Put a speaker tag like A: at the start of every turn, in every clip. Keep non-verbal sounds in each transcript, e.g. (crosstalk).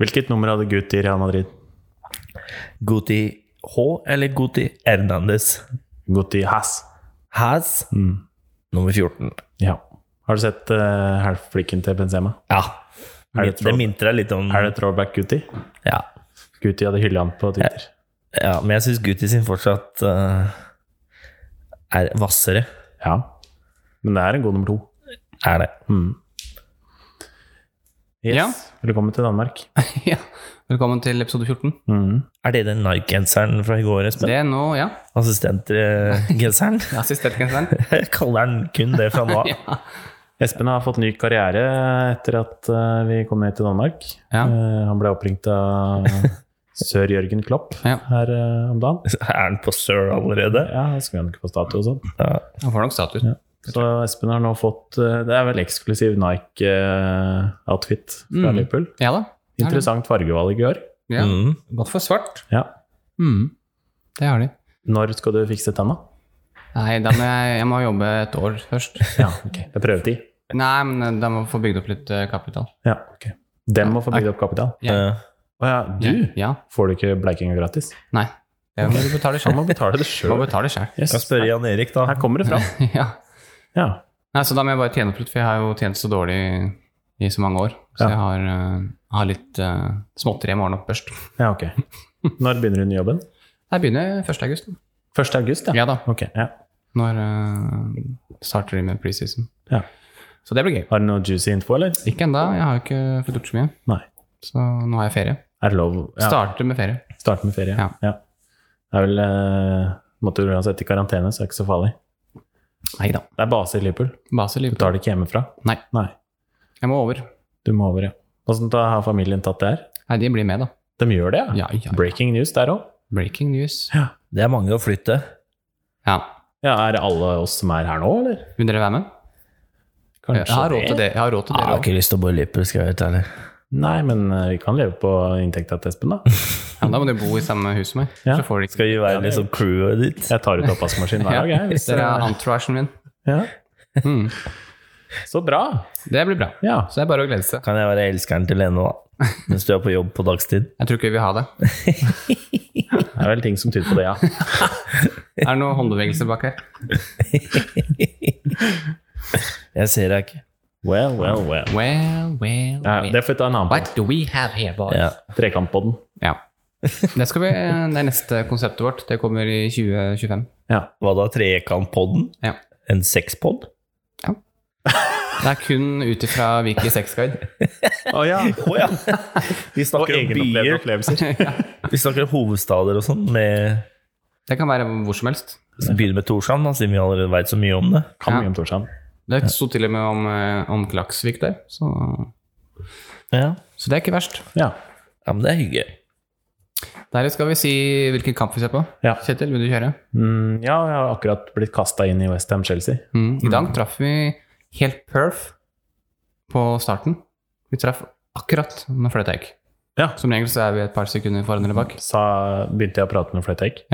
A: Hvilket nummer hadde Guti i Real Madrid?
B: Guti H eller Guti Hernandez?
A: Guti Hass.
B: Has
A: Mm.
B: nummer 14.
A: Ja. Har du sett uh, halvflikken til Benzema?
B: Ja.
A: Er det
B: Det, det
A: tråd-
B: minte deg litt om
A: Er det throwback Guti?
B: ja.
A: Guti hadde hylla han på Twitter.
B: ja, men jeg syns Guti sin fortsatt eh, er hvassere.
A: Ja. Mm. Men det er en god nummer to.
B: Er det.
A: Yes.
C: Ja.
A: Velkommen til Danmark.
C: (laughs) ja. Velkommen til episode 14.
A: Mm.
B: Er det den Nike-genseren fra i går, Espen?
C: Det er nå, ja. (laughs)
B: Assistentgenseren?
C: Ja, siste helgenseren. (laughs)
B: Jeg kaller den kun det fra nå av.
C: ja.
A: Espen har fått ny karriere etter at eh, vi kom ned til Danmark.
C: Ja.
A: Eh, han ble oppringt
C: (laughs)
A: av sør Jørgen Klopp
C: Ja.
A: her eh, om dagen.
B: Er den på Sir allerede?
A: Ja, han skulle ikke få statue og sånn.
B: Ja.
C: Han får nok status.
A: Så Espen har nå fått eh, Det er vel eksklusiv Nike-outfit fra
C: Mm.
A: Liverpool.
C: Ja da. Ja, det.
A: Interessant fargevalg i år.
C: Ja.
B: Mm.
C: Godt for svart.
A: Ja.
C: Mm. Det har de.
A: Når skal du fikse tenna?
C: Nei, da må jeg, jeg må jobbe et år først.
A: Ja, ok. Det er prøvetid.
C: Nei, men eh, da må jeg få bygd opp litt eh, kapital.
A: Ja, ok. Dem må få bygd opp kapital.
C: Ja.
B: Eh,
A: Å ja, du?
C: Ja.
A: Får du ikke bleikinga gratis?
C: Nei. Det må du betale
A: Han
C: selv.
A: må betale sånn det
C: Du må
A: sjøl.
C: betale selv.
B: Kan spørre Jan Erik, da.
A: Her kommer det fram.
C: (laughs) ja.
A: Ja.
C: Nei, så da må jeg bare tjene opp litt, for jeg har jo tjent så dårlig i så mange år. Så
A: Ja.
C: jeg har, eh, har litt uh, småtteri jeg må ordne opp først.
A: ja, ok. Når begynner du den jobben?
C: Jeg begynner 1. august.
A: 1. august, ja.
C: Ja da.
A: Ok, ja.
C: Når eh, starter de med preseason.
A: Ja.
C: Så det blir gøy.
A: Har du noe juicy info, eller?
C: Ikke ennå, jeg har jo ikke fått gjort så mye.
A: Nei.
C: Så nå har jeg ferie.
A: Er det lov? Ja,
C: Starter med ferie.
A: starte med ferie.
C: Ja.
A: Ja. Det er vel eh, Måtte du uansett i karantene, så det er ikke så farlig.
C: Nei da.
A: Det er base i Liverpool.
C: Base
A: Du
C: liv.
A: tar det ikke hjemmefra.
C: Nei.
A: Nei.
C: Jeg må over.
A: Du må over, ja. Åssen da har familien tatt det her?
C: Nei, de blir med, da.
A: De gjør det, ja?
C: Ja, ja.
A: Breaking news der òg.
C: Breaking news.
B: Det er mange å flytte.
C: Ja.
A: Ja, er det alle oss som er her nå, eller?
C: Vil dere være med? jeg har råd til det. Jeg har råd
A: Ah,
C: til
B: Jeg
C: det.
B: har
C: også.
B: ikke lyst til å bo i Liverpool, skal jeg være helt ærlig.
A: Nei, men eh, vi kan leve på inntekta til Espen, da.
C: Ja, da må dere bo i samme hus som meg.
A: Ja.
C: Så får dere ikke
B: Skal vi være liksom crewet ditt?
A: Jeg tar ut
C: (laughs)
A: oppvaskmaskinen hver dag, jeg. Hvis,
C: Dere er
A: eh,
C: entouragen min.
A: ja.
C: Mm.
A: Så bra!
C: Det blir bra.
A: Ja.
C: Så det er bare å glede seg.
B: Kan jeg være elskeren til Lene, da? Mens du er på jobb på dagstid?
C: Jeg tror ikke vi vil ha det.
A: Det er vel ting som tyder på det, ja.
C: Er det noen håndbevegelser bak her?
B: Jeg ser deg ikke.
A: Well, well, well.
C: Well, well,
A: Ja,
C: well.
A: det får vi ta en annen
C: What
A: på.
C: do we have here, boys?
B: Ja.
A: Trekant på den.
C: Ja. (laughs) Det, skal vi, det er neste konseptet vårt. Det kommer i 2025.
A: Ja.
B: Hva da, trekantpodden?
C: Ja.
B: En sexpod?
C: Det er kun ut ifra Wiki Sexguide.
A: Å
C: (laughs)
A: ja.
B: Å ja! Vi
A: Og
B: snakker om
A: egenopplevde
B: byer,
A: opplevelser.
B: vi snakker om hovedstader og sånn. med-
C: Det kan være hvor som helst.
B: Så Begynner med Torshavn, da, siden vi allerede veit så mye om det.
A: Kan
C: Ja.
A: mye om Torshavn.
C: Det sto til og med om, eh, om Klaksvik der, så,
B: Ja,
C: så det er ikke verst.
A: Ja.
B: ja men det er hyggelig.
C: Der skal vi si hvilken kamp vi ser på.
A: Ja.
C: Kjetil, vil du kjøre?
A: Mm, ja, jeg har akkurat blitt kasta inn i Westham Chelsea.
C: Mm. I dag traff vi helt perf på starten. Vi traff akkurat med fløyta gikk.
A: Ja.
C: Som regel så er vi et par sekunder foran eller bak.
A: Sa, begynte jeg å prate med Flytake.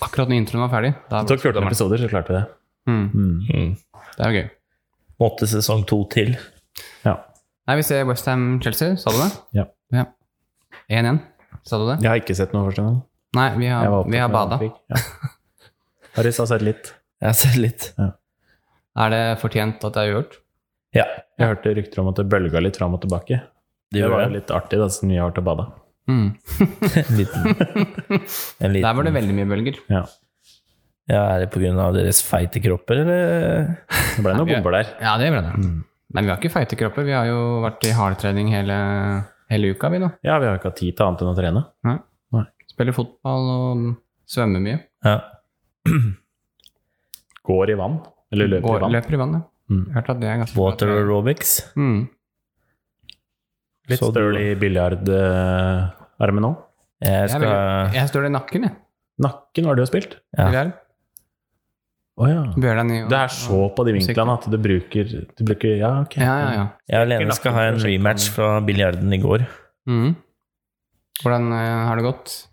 C: Akkurat når introen var ferdig. Da
A: Det tok 14 episoder, så klarte vi det.
C: Mm.
A: Mm.
C: Det er jo gøy.
B: Måtte sesong to til.
A: Ja.
C: Nei, vi ser Westham-Chelsea, sa du det?
A: Ja.
C: 1-1, sa du det?
A: Jeg har ikke sett noe første gang.
C: Nei, vi
A: Jeg var
C: har,
A: opptatt
C: vi har
A: med
C: bada.
A: Olympic. Ja. Harris har sett litt.
B: Jeg har sett litt.
C: Er det fortjent at det er uavgjort?
B: Ja,
A: Jeg hørte rykter om at det bølga litt fram og tilbake.
B: det
A: Det var
B: gjør
A: jo
B: det.
A: litt artig, da, siden vi har vært og bada.
C: Mm.
B: En (laughs) liten, en
C: Der
B: liten.
C: var det veldig mye bølger.
A: Ja.
B: Ja, er det pga. deres feite kropper, eller?
A: Det ble noen
C: vi er-
A: bomber der.
C: Ja, det ble det. Mm. Men vi har ikke feite kropper. Vi har jo vært i hardtrening hele, hele uka, vi nå.
A: Ja, vi har jo ikke hatt tid til annet enn å trene.
C: Spiller fotball og svømmer mye.
B: Ja.
A: Går i vann. Eller løper
C: Går,
A: i vann.
C: løper i vann, ja.
A: Mm.
C: Hørt at det er ganske bra.
B: Water aerobics.
C: Mm.
A: Litt
B: Så du-
A: støl i biljardarmen òg.
B: Jeg
C: Jeg, er
B: skal
C: veldig- jeg står i nakken, jeg.
A: Nakken var det jo spilt.
B: Ja.
C: Til her.
A: Å ja.
C: Bjørnen i
A: Du er så på de vinklene at du bruker, du bruker Ja, ok.
C: Ja, ja, ja.
B: Jeg og Lene skal ha en rematch fra biljarden i går.
C: Mm. Hvordan eh, har det gått?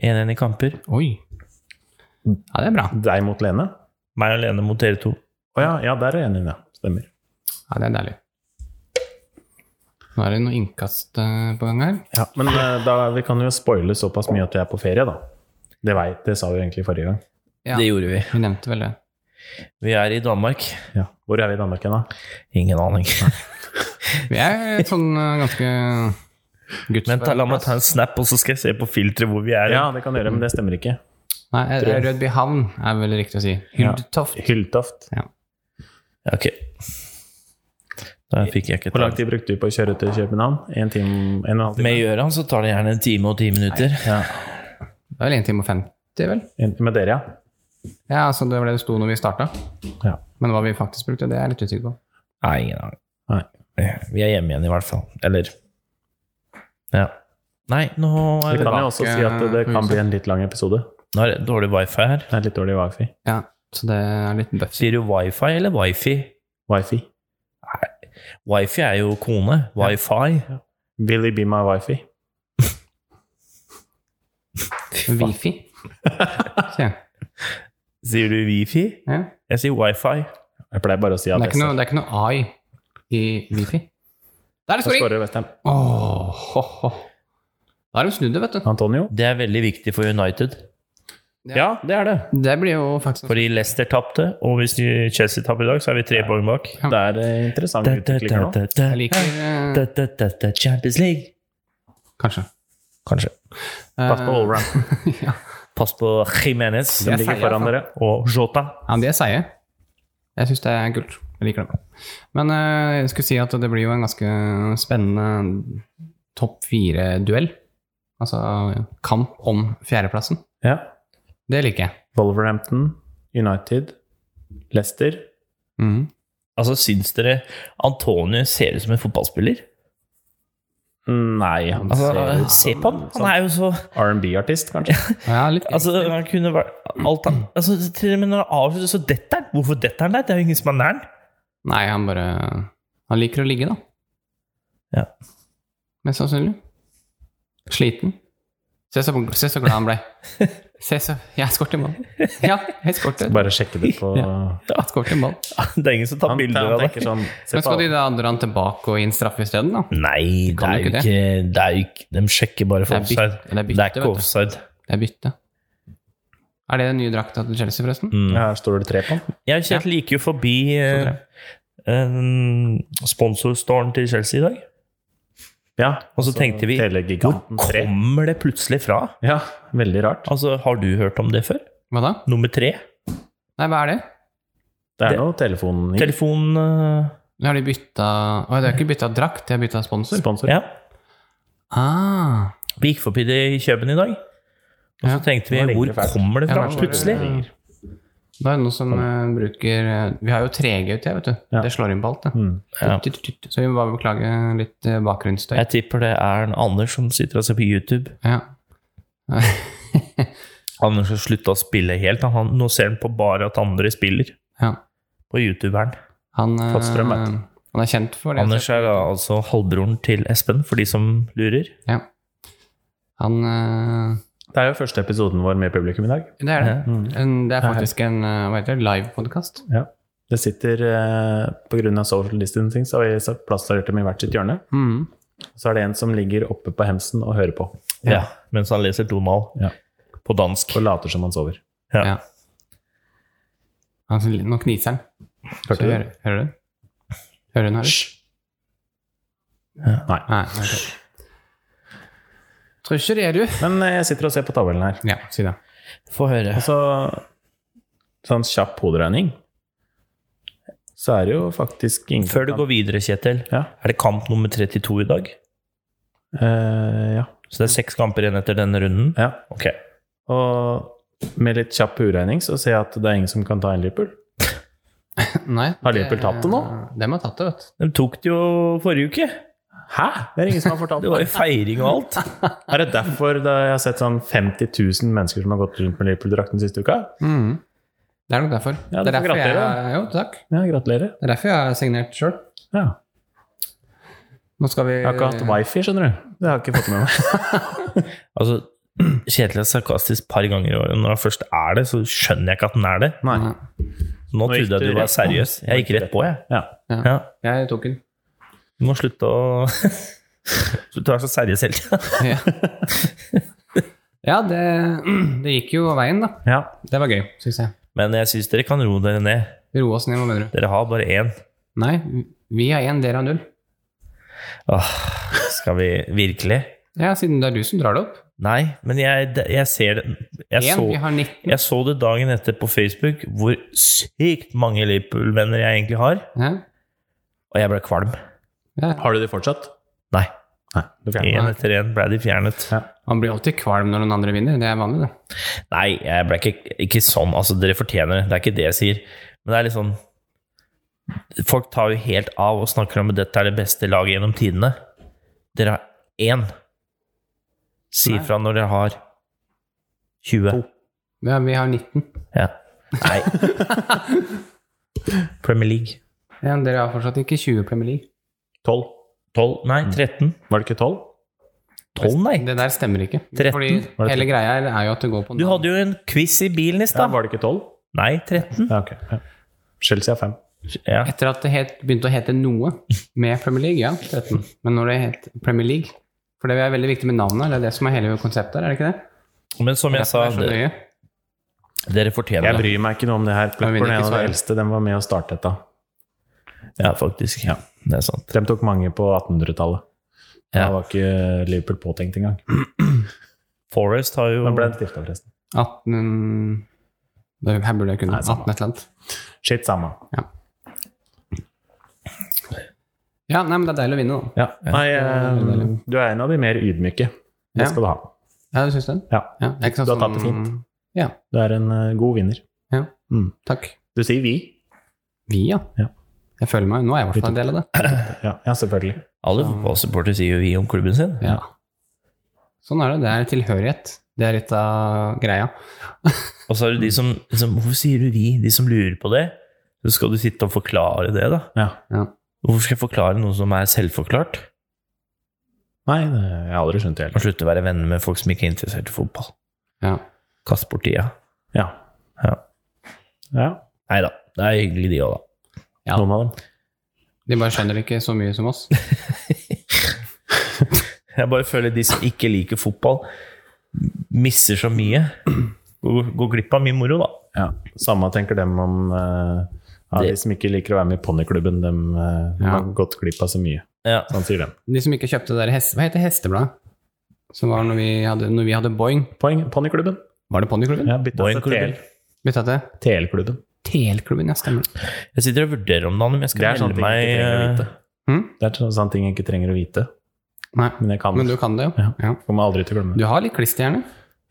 B: 1-1 i kamper.
C: Oi. Ja, det er bra.
A: Deg mot Lene?
B: Meg og Lene mot dere to.
A: Å ja, ja, der er jeg enig, ja. Stemmer.
C: Ja, det er deilig. Nå er det noe innkast eh, på gang her.
A: Men eh, da, vi kan jo spoile såpass mye at vi er på ferie, da. Det, vei- det sa vi jo egentlig forrige gang.
C: Ja,
B: Det gjorde vi.
C: vi nevnte vel det.
B: Vi er i Danmark.
A: Ja. Hvor er vi i Danmark igjen, da?
B: Ingen
A: (laughs)
B: aning.
C: Vi er et sånn eh, ganske guds...
B: Men ta, la meg ta en snap, og så skal jeg se på filteret hvor vi er.
A: Ja, det kan du gjøre, men det stemmer ikke.
C: Nei, eh, Rødby havn er vel riktig å si.
A: Ja.
C: Hyldetoft.
A: Hylltoft.
B: Ok. Da fikk jeg ikke
A: Hvor
B: ta
A: lang tid brukte du på å kjøre til København? En time, en og en halv time?
B: Med Gjøran så tar det gjerne en time og ti minutter.
A: Ja.
C: Det er vel 1 time og 50, vel?
A: En, med dere, ja.
C: Ja, altså det var det det sto når vi starta.
A: Ja.
C: Men hva vi faktisk brukte, det er jeg litt usikker på.
B: Nei, ingen aning.
A: Nei.
B: Vi er hjemme igjen, i hvert fall. Eller Ja. Nei, nå er
A: Vi
B: det,
A: kan jo også si at det kan bli en litt lang episode.
B: nå er det dårlig wifi her.
A: Det er litt dårlig wifi.
C: Ja, så det er litt bøff.
B: Sier du wifi eller wifi?
A: Wifi.
B: Wifi er jo kone. Wifi.
A: Billy be my wifi.
C: Wifi. Sier jeg.
B: Sier du wifi?
C: Ja.
B: Jeg sier wifi.
A: Jeg pleier bare å si
C: Det, er ikke
A: adresse.
C: noe, det er ikke noe I i Wifi. Der er
A: Så
C: det skåring!
A: skårer Westham.
C: Åh, ho, ho. Da er de snudd det, vet du.
A: Antonio?
B: Det er veldig viktig for United.
A: Ja, det er det.
C: Det blir jo faktisk
B: Fordi Leicester tapte, og hvis de- Chelsea taper i dag, så er vi tre poeng bak.
A: Det er eh, interessant utvikling her nå.
C: Jeg liker eh,
B: Champions League.
C: Kanskje.
B: Kanskje.
A: Pass på allround.
C: ja.
B: Pass på Jimenez
A: De
C: Jeg
A: ligger
C: sier
A: foran
C: det.
A: dere.
B: og Jota.
C: Eh, Ja, men de er seige. Jeg syns det er kult. Jeg liker det. Men eh, jeg skulle si at det blir jo en ganske spennende topp fire-duell. Altså kamp om fjerdeplassen.
A: Ja.
C: Det liker jeg.
A: Wolverhampton, United, Leicester.
C: Mhm.
B: Altså, syns dere Antonio ser ut som en fotballspiller?
A: Nei, han
B: Altså,
A: ser Sånn ut
B: se
A: som
B: på han. Han er jo så
A: R&B-artist, kanskje.
C: Ja, litt gøy.
B: Altså, han kunne vært alt han altså, Til og med når han avslutter, så detter han. Hvorfor detter han der? Det er jo ingen som er nær han. (laughs)
C: Nei, han bare Han liker å ligge, da.
B: Ja.
C: Mest sannsynlig. Sliten. Se så, se så glad han ble.
B: (laughs)
C: Se så Jeg skåret en ball. Ja, jeg skåret
A: Bare sjekke det
B: (laughs)
A: på
C: Jeg skåret en ball.
B: Det er ingen som tar
A: Han,
B: bilder
A: han
B: av
A: tenker
B: det.
A: sånn se
C: Men skal
A: på
C: de da dra han tilbake og inn straffe isteden, da?
B: Nei, det
C: Kan
B: er
C: jo
B: jo
C: ikke det.
B: ikke, det er jo ikke De sjekker bare for
C: Det er byt-
B: offside.
C: det er bytte,
B: Det er ikke
C: vet du.
B: offside.
C: Det er bytte. Er det den nye drakta til Chelsea, forresten?
B: Mm.
A: Ja, Her står det tre på han.
B: Jeg og Kjetil gikk jo forbi eh, eh, sponsorstoren til Chelsea i dag.
A: Ja, Sånn
B: Og så tenkte vi, Hvor
A: Telegiganten 3.
B: kommer det plutselig fra?
A: Ja, veldig rart.
B: Altså, Har du hørt om det før?
C: Hva da?
B: Nummer tre?
C: Nei, hva er det?
A: Det
B: Det-
A: er noe telefonen i
B: Telefon eh,
C: Har de bytta Å, de har ikke bytta drakt, de har bytta sponsor.
A: sponsor.
B: Ja.
C: Ah,
B: Vi gikk forbi det i Kjøben i dag. Og så
C: Ja.
B: tenkte vi
A: Nå ligger
B: hvor
A: det fælt.
B: kommer det
C: Ja,
B: fra
C: nå er det-
B: plutselig?
C: da er det noen som eh, bruker eh, Vi har jo 3G ute, vet du.
A: Ja.
C: Det slår inn på alt, det.
A: Mm.
B: Ja.
C: Tut, tut, tut. Så vi må bare beklage litt eh, bakgrunnsstøy.
B: Jeg tipper det er en Anders som sitter og ser på YouTube.
C: Ja.
B: Anders har slutta å spille helt. Han- Han, nå ser han på bare at andre spiller.
C: ja.
B: På youtuberen.
C: Han, eh,
A: Fått strøm, vet
C: han er kjent for det.
B: Anders er da altså halvbroren til Espen, for de som lurer.
C: Ja. Han eh,
A: Det er jo første episoden vår med publikum i dag.
C: Det er det.
A: Mm.
C: En, det er faktisk en eh, hva heter det, live podcast
A: Ja. Det sitter eh, Pga. social distancing så har vi satt plassert dem i hvert sitt hjørne.
C: Mm.
A: Så er det en som ligger oppe på hemsen og hører på.
B: Ja. Mens han leser Donald
A: Ja.
B: på dansk.
A: Og later som han sover.
B: Ja.
C: Ja. Altså, nå kniser han.
A: Hørte du det?
C: hører, hører du den? Hører hun her?
A: Nei.
C: Nei. Okay. Trusjer er du.
A: Men eh, jeg sitter og ser på tavlen her.
C: Ja, si det.
B: Få høre.
A: Og så sånn kjapp hoderegning, så er det jo faktisk ingen
B: Før du går videre, Kjetil,
A: Ja.
B: er det kamp nummer 32 i dag.
A: Eh, ja.
B: Så det er seks kamper igjen etter denne runden.
A: ja.
B: Ok.
A: Og med litt kjapp hoderegning så ser jeg at det er ingen som kan ta en Liverpool.
C: Nei,
A: Har Liverpool tatt det nå?
C: De har tatt det, vet du.
B: De tok det jo forrige uke.
A: Hæ? (laughs) Det er ingen som har fortalt
B: Det var jo feiring og alt.
A: Er det derfor det jeg har sett sånn 50 000 mennesker som har gått rundt med Liverpool-drakten siste uka?
C: Mm. Det er nok derfor.
A: Ja,
C: det
A: du får
C: er derfor jeg,
A: gratulere.
C: jo, takk.
A: Ja, gratulerer.
C: Det er derfor jeg har signert sjøl.
A: Ja.
C: Nå skal vi
A: Jeg har ikke hatt wifi, skjønner du. Det har jeg ikke fått med meg.
B: Altså, (clears throat) Kjetil er sarkastisk et par ganger i året. Når han først er det, så skjønner jeg ikke at han er det.
A: (laughs) Nei.
C: Nei.
B: Nå
A: Nå gikk
B: trodde jeg
A: du
B: du var
A: rett på.
B: seriøs. Jeg gikk rett på, jeg.
A: Ja.
B: Ja.
C: Jeg tok den.
B: Du må slutte å (laughs) Slutte å være så seriøs hele tida.
A: (laughs)
C: Ja, ja det, (clears throat) det gikk jo veien, da.
A: Ja.
C: Det var gøy, syns jeg.
B: Men jeg syns dere kan roe dere ned.
C: Roe oss ned, hva mener du?
B: Dere har bare én.
C: Nei, vi har én, dere har null.
B: Åh, skal vi virkelig?
C: Ja, siden det er du som drar det opp.
B: Nei, men jeg, jeg ser det jeg
C: Én, vi
B: så,
C: har 19.
B: jeg så det dagen etter på Facebook, hvor sykt mange Liverpool-venner jeg egentlig har.
C: Ja.
B: Og jeg ble kvalm.
C: Ja.
A: Har du de fortsatt?
B: Nei.
A: Nei. Du fjerner
B: Én etter én ble de fjernet.
C: Man blir alltid kvalm når noen andre vinner, det er vanlig, det.
B: Nei, jeg ble ikke, ikke sånn. Altså, dere fortjener det. Det er ikke det jeg sier. Men det er litt sånn Folk tar jo helt av og snakker om at dette er det beste laget gjennom tidene. Dere har én. Si
C: Nei.
B: fra når dere har 20.
C: Ja, vi har 19.
B: Ja. Nei.
A: (laughs)
B: Premier League.
C: Ja, men dere har fortsatt ikke 20 Premier League.
A: 12.
B: 12? Nei,
A: Mm.
B: 13?
A: Var det ikke 12?
B: 12, nei.
C: Det der stemmer ikke.
B: 13?
C: Fordi
A: Var det
C: hele greia her er jo at det går på
B: Du hadde jo en quiz i bilen i
A: Ja,
B: stad.
A: var det ikke 12?
B: Nei, 13.
A: Ja, ok. Ja. Chelsea er 5.
B: Ja.
C: Etter at det het, begynte å hete noe med Premier League, ja, 13. Men når det het Premier League For det er veldig viktig med navnet, det er det som er hele konseptet her, er det ikke det?
B: Men som jeg sa,
C: Det er så
B: dere,
C: nøye.
B: dere fortjener
A: Jeg
B: det.
A: bryr meg ikke noe om det her.
C: vil
A: Blackburn er
C: ikke
A: en av
C: svare.
A: de eldste. Den var med å starte dette.
B: Ja, faktisk. Det er sant.
A: De tok mange på 1800-tallet. Da
B: Ja.
A: var ikke Liverpool påtenkt engang.
B: Forest har jo
A: Men ble den stifta, forresten.
C: 18 det Her burde jeg kunne
A: Nei, samme.
C: 18 et eller annet.
A: Shit, samme.
C: Ja, nei, men det er deilig å vinne, da.
A: Ja. Nei, eh,
C: deilig.
A: du er en av de mer ydmyke.
C: Ja.
A: Det skal du ha.
C: Ja, du syns det?
A: Ja.
C: ja det er ikke sånn
A: Du har
C: som-
A: tatt det fint.
C: Ja.
A: Du er en eh, god vinner.
C: Takk.
A: Du sier vi.
C: Vi, ja.
A: Ja.
C: Jeg føler meg Nå er jeg i hvert fall en del av det.
A: Ja, ja selvfølgelig.
B: Alle fotballsupportere sier jo vi om klubben sin.
C: Ja. Sånn er det. Det er tilhørighet. Det er litt av greia.
B: Og så er det de
A: Mm.
B: som liksom, Hvorfor sier du vi? De som lurer på det. Så skal du sitte og forklare det, da.
A: Ja.
B: Hvorfor skal jeg forklare noe som er selvforklart?
A: Nei, det, jeg har aldri skjønt det
B: Og
A: heller.
B: slutte å være venner med folk som ikke er interessert i fotball.
C: Ja.
B: Kast bort tida.
A: Ja.
B: Ja.
A: ja.
B: Nei da. Det er hyggelig, de òg, da.
C: Ja.
A: Noen av dem.
C: De bare skjønner ikke så mye som oss.
B: Jeg bare føler de som ikke liker fotball, misser så mye. Går, går glipp av mye moro, da.
A: Ja. Samme tenker dem om eh, ja, de
B: Det-
A: som ikke liker å være med i ponniklubben. De eh,
C: Ja.
A: har gått glipp av så mye.
B: Ja.
A: Sånn sier dem.
C: De som ikke kjøpte det der heste... Hva heter hestebladet? Som var når vi hadde, når vi hadde Boing.
A: Poeng. Ponniklubben.
C: Var det Ponnyklubben?
A: Ja, bytta til
B: Boeing-klubben.
A: TL
C: Bytta til
A: TL-klubben.
C: Teleklubben, ja, stemmer det.
B: Jeg sitter og vurderer om dagen om jeg skal
A: Det er sånne
B: melde
A: ting jeg ikke trenger å
B: meg eh,
A: vite.
C: Hm?
A: Det er sånne ting jeg ikke trenger å vite,
C: Nei,
A: men jeg kan.
C: Hmm? men du kan det jo.
A: Ja.
C: Ja.
A: Kommer aldri til å glemme.
C: Du har litt klisterhjerne.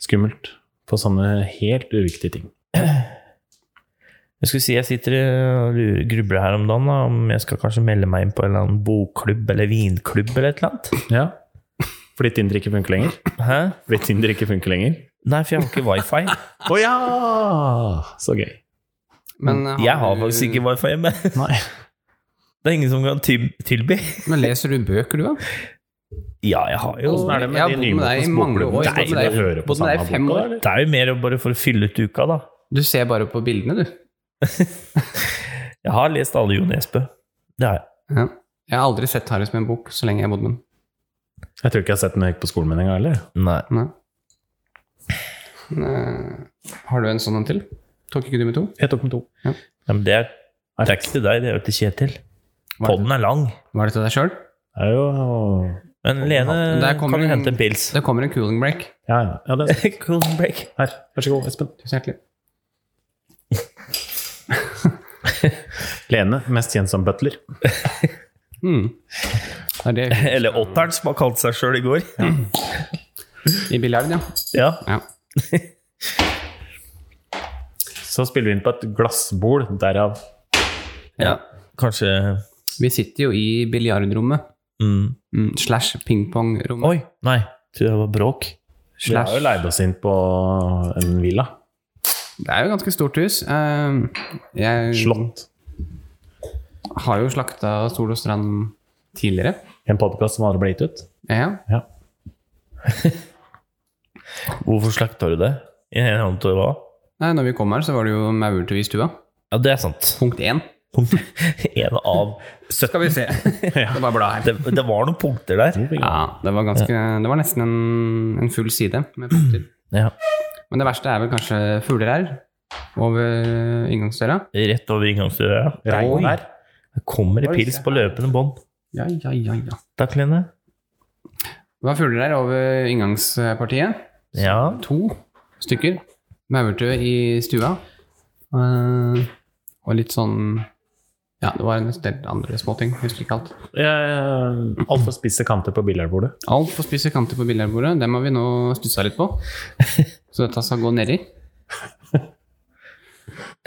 A: Skummelt på sånne helt uviktige ting.
B: Jeg skulle si jeg sitter og lurer- grubler her om dagen, da, om jeg skal kanskje melde meg inn på en eller annen bokklubb eller vinklubb eller et eller annet.
A: Ja. Fordi Tinder ikke funker lenger?
B: Hæ?
A: Fordi Tinder ikke funker lenger?
B: Nei, for jeg har ikke wifi.
A: Å ja! Så gøy.
C: Men, eh,
B: Mm, Jeg har
C: du-
B: faktisk ikke wifi hjemme.
A: Nei.
B: Det er ingen som kan ty- tilby.
C: Men leser du bøker, du, da?
B: Ja, jeg har jo
A: Åssen er det
C: jeg har
A: med de
C: bodd med deg i
A: nymotens
C: mange
A: bokklubb?
C: år.
A: Nei,
C: Jeg har bodd med deg-
A: du hører på
C: bodd med deg i
A: samme
C: fem
A: boka,
C: år.
A: eller?
B: Det er jo mer bare for å fylle ut uka, da.
C: Du ser bare på bildene, du.
B: Jeg har lest alle Jo Nesbø. Det har jeg.
C: Ja. Jeg har aldri sett Harris med en bok så lenge jeg har bodd med den.
A: Jeg tror ikke jeg har sett den når jeg gikk på skolen min engang, eller?
B: Nei.
C: Nei. Men, eh, har du en sånn en til? Tok ikke du med to?
A: Jeg tok med to.
B: Ja, men det er, det er ikke til deg, det er jo til Kjetil.
C: Var det,
B: Podden er lang.
C: var det til deg sjøl?
A: Det er jo
B: Men Lene,
C: Der
B: kan
C: kommer
B: du
C: en-
B: hente en (laughs) pils?
C: Det kommer en cooling break.
A: Ja, ja. ja det er... sånn.
B: Cool break.
A: Her, vær så god, Espen.
C: Tusen hjertelig.
A: Lene, mest kjent som butler.
C: Mm. Det er det
B: Eller Otteren, som har kalt seg sjøl i går.
C: i biljard, ja.
B: Ja.
C: ja.
A: Så spiller vi inn på et glassbol, derav
B: ja. Kanskje
C: Vi sitter jo i biljardrommet.
B: mm.
C: Mm, slash pingpongrommet.
B: Oi, nei. Tror det var bråk.
A: Vi har jo
C: Slash.
A: leid oss inn på en villa.
C: Det er jo et ganske stort hus. Eh, jeg
A: Slott.
C: har jo slakta Stol og Strand tidligere.
A: En podkast som aldri ble gitt ut.
C: Ja.
A: Ja.
B: Hvorfor slakta du det? I en annen til hva?
C: Nei, når vi kom her, så var det jo maur til i stua.
B: (laughs) Ja, det er sant.
C: Punkt én.
B: En av 17
C: Skal vi
B: (laughs)
C: se. Det var bla her.
B: det, det var noen punkter der.
C: Ja, det var, ganske, det var nesten en, en full side med punkter.
B: Ja.
C: Men det verste er vel kanskje fugler her, over inngangsdøra.
B: Rett over inngangsdøra. ja.
A: Regn
C: Oi.
A: der.
B: Det kommer i
C: Oi,
B: pils
C: se
B: på løpende bånd.
C: Ja, ja, ja, ja.
B: Takk, Lene.
C: Det var fugler her over inngangspartiet.
B: Ja.
C: To stykker. Maurtue i stua. Eh, og litt sånn Ja, det var en del andre småting. Husker ikke alt.
A: Altfor spisse kanter på billardbordet.
C: Altfor spisse kanter på billedbordet. Dem har vi nå stussa litt på. Så dette skal gå nedi.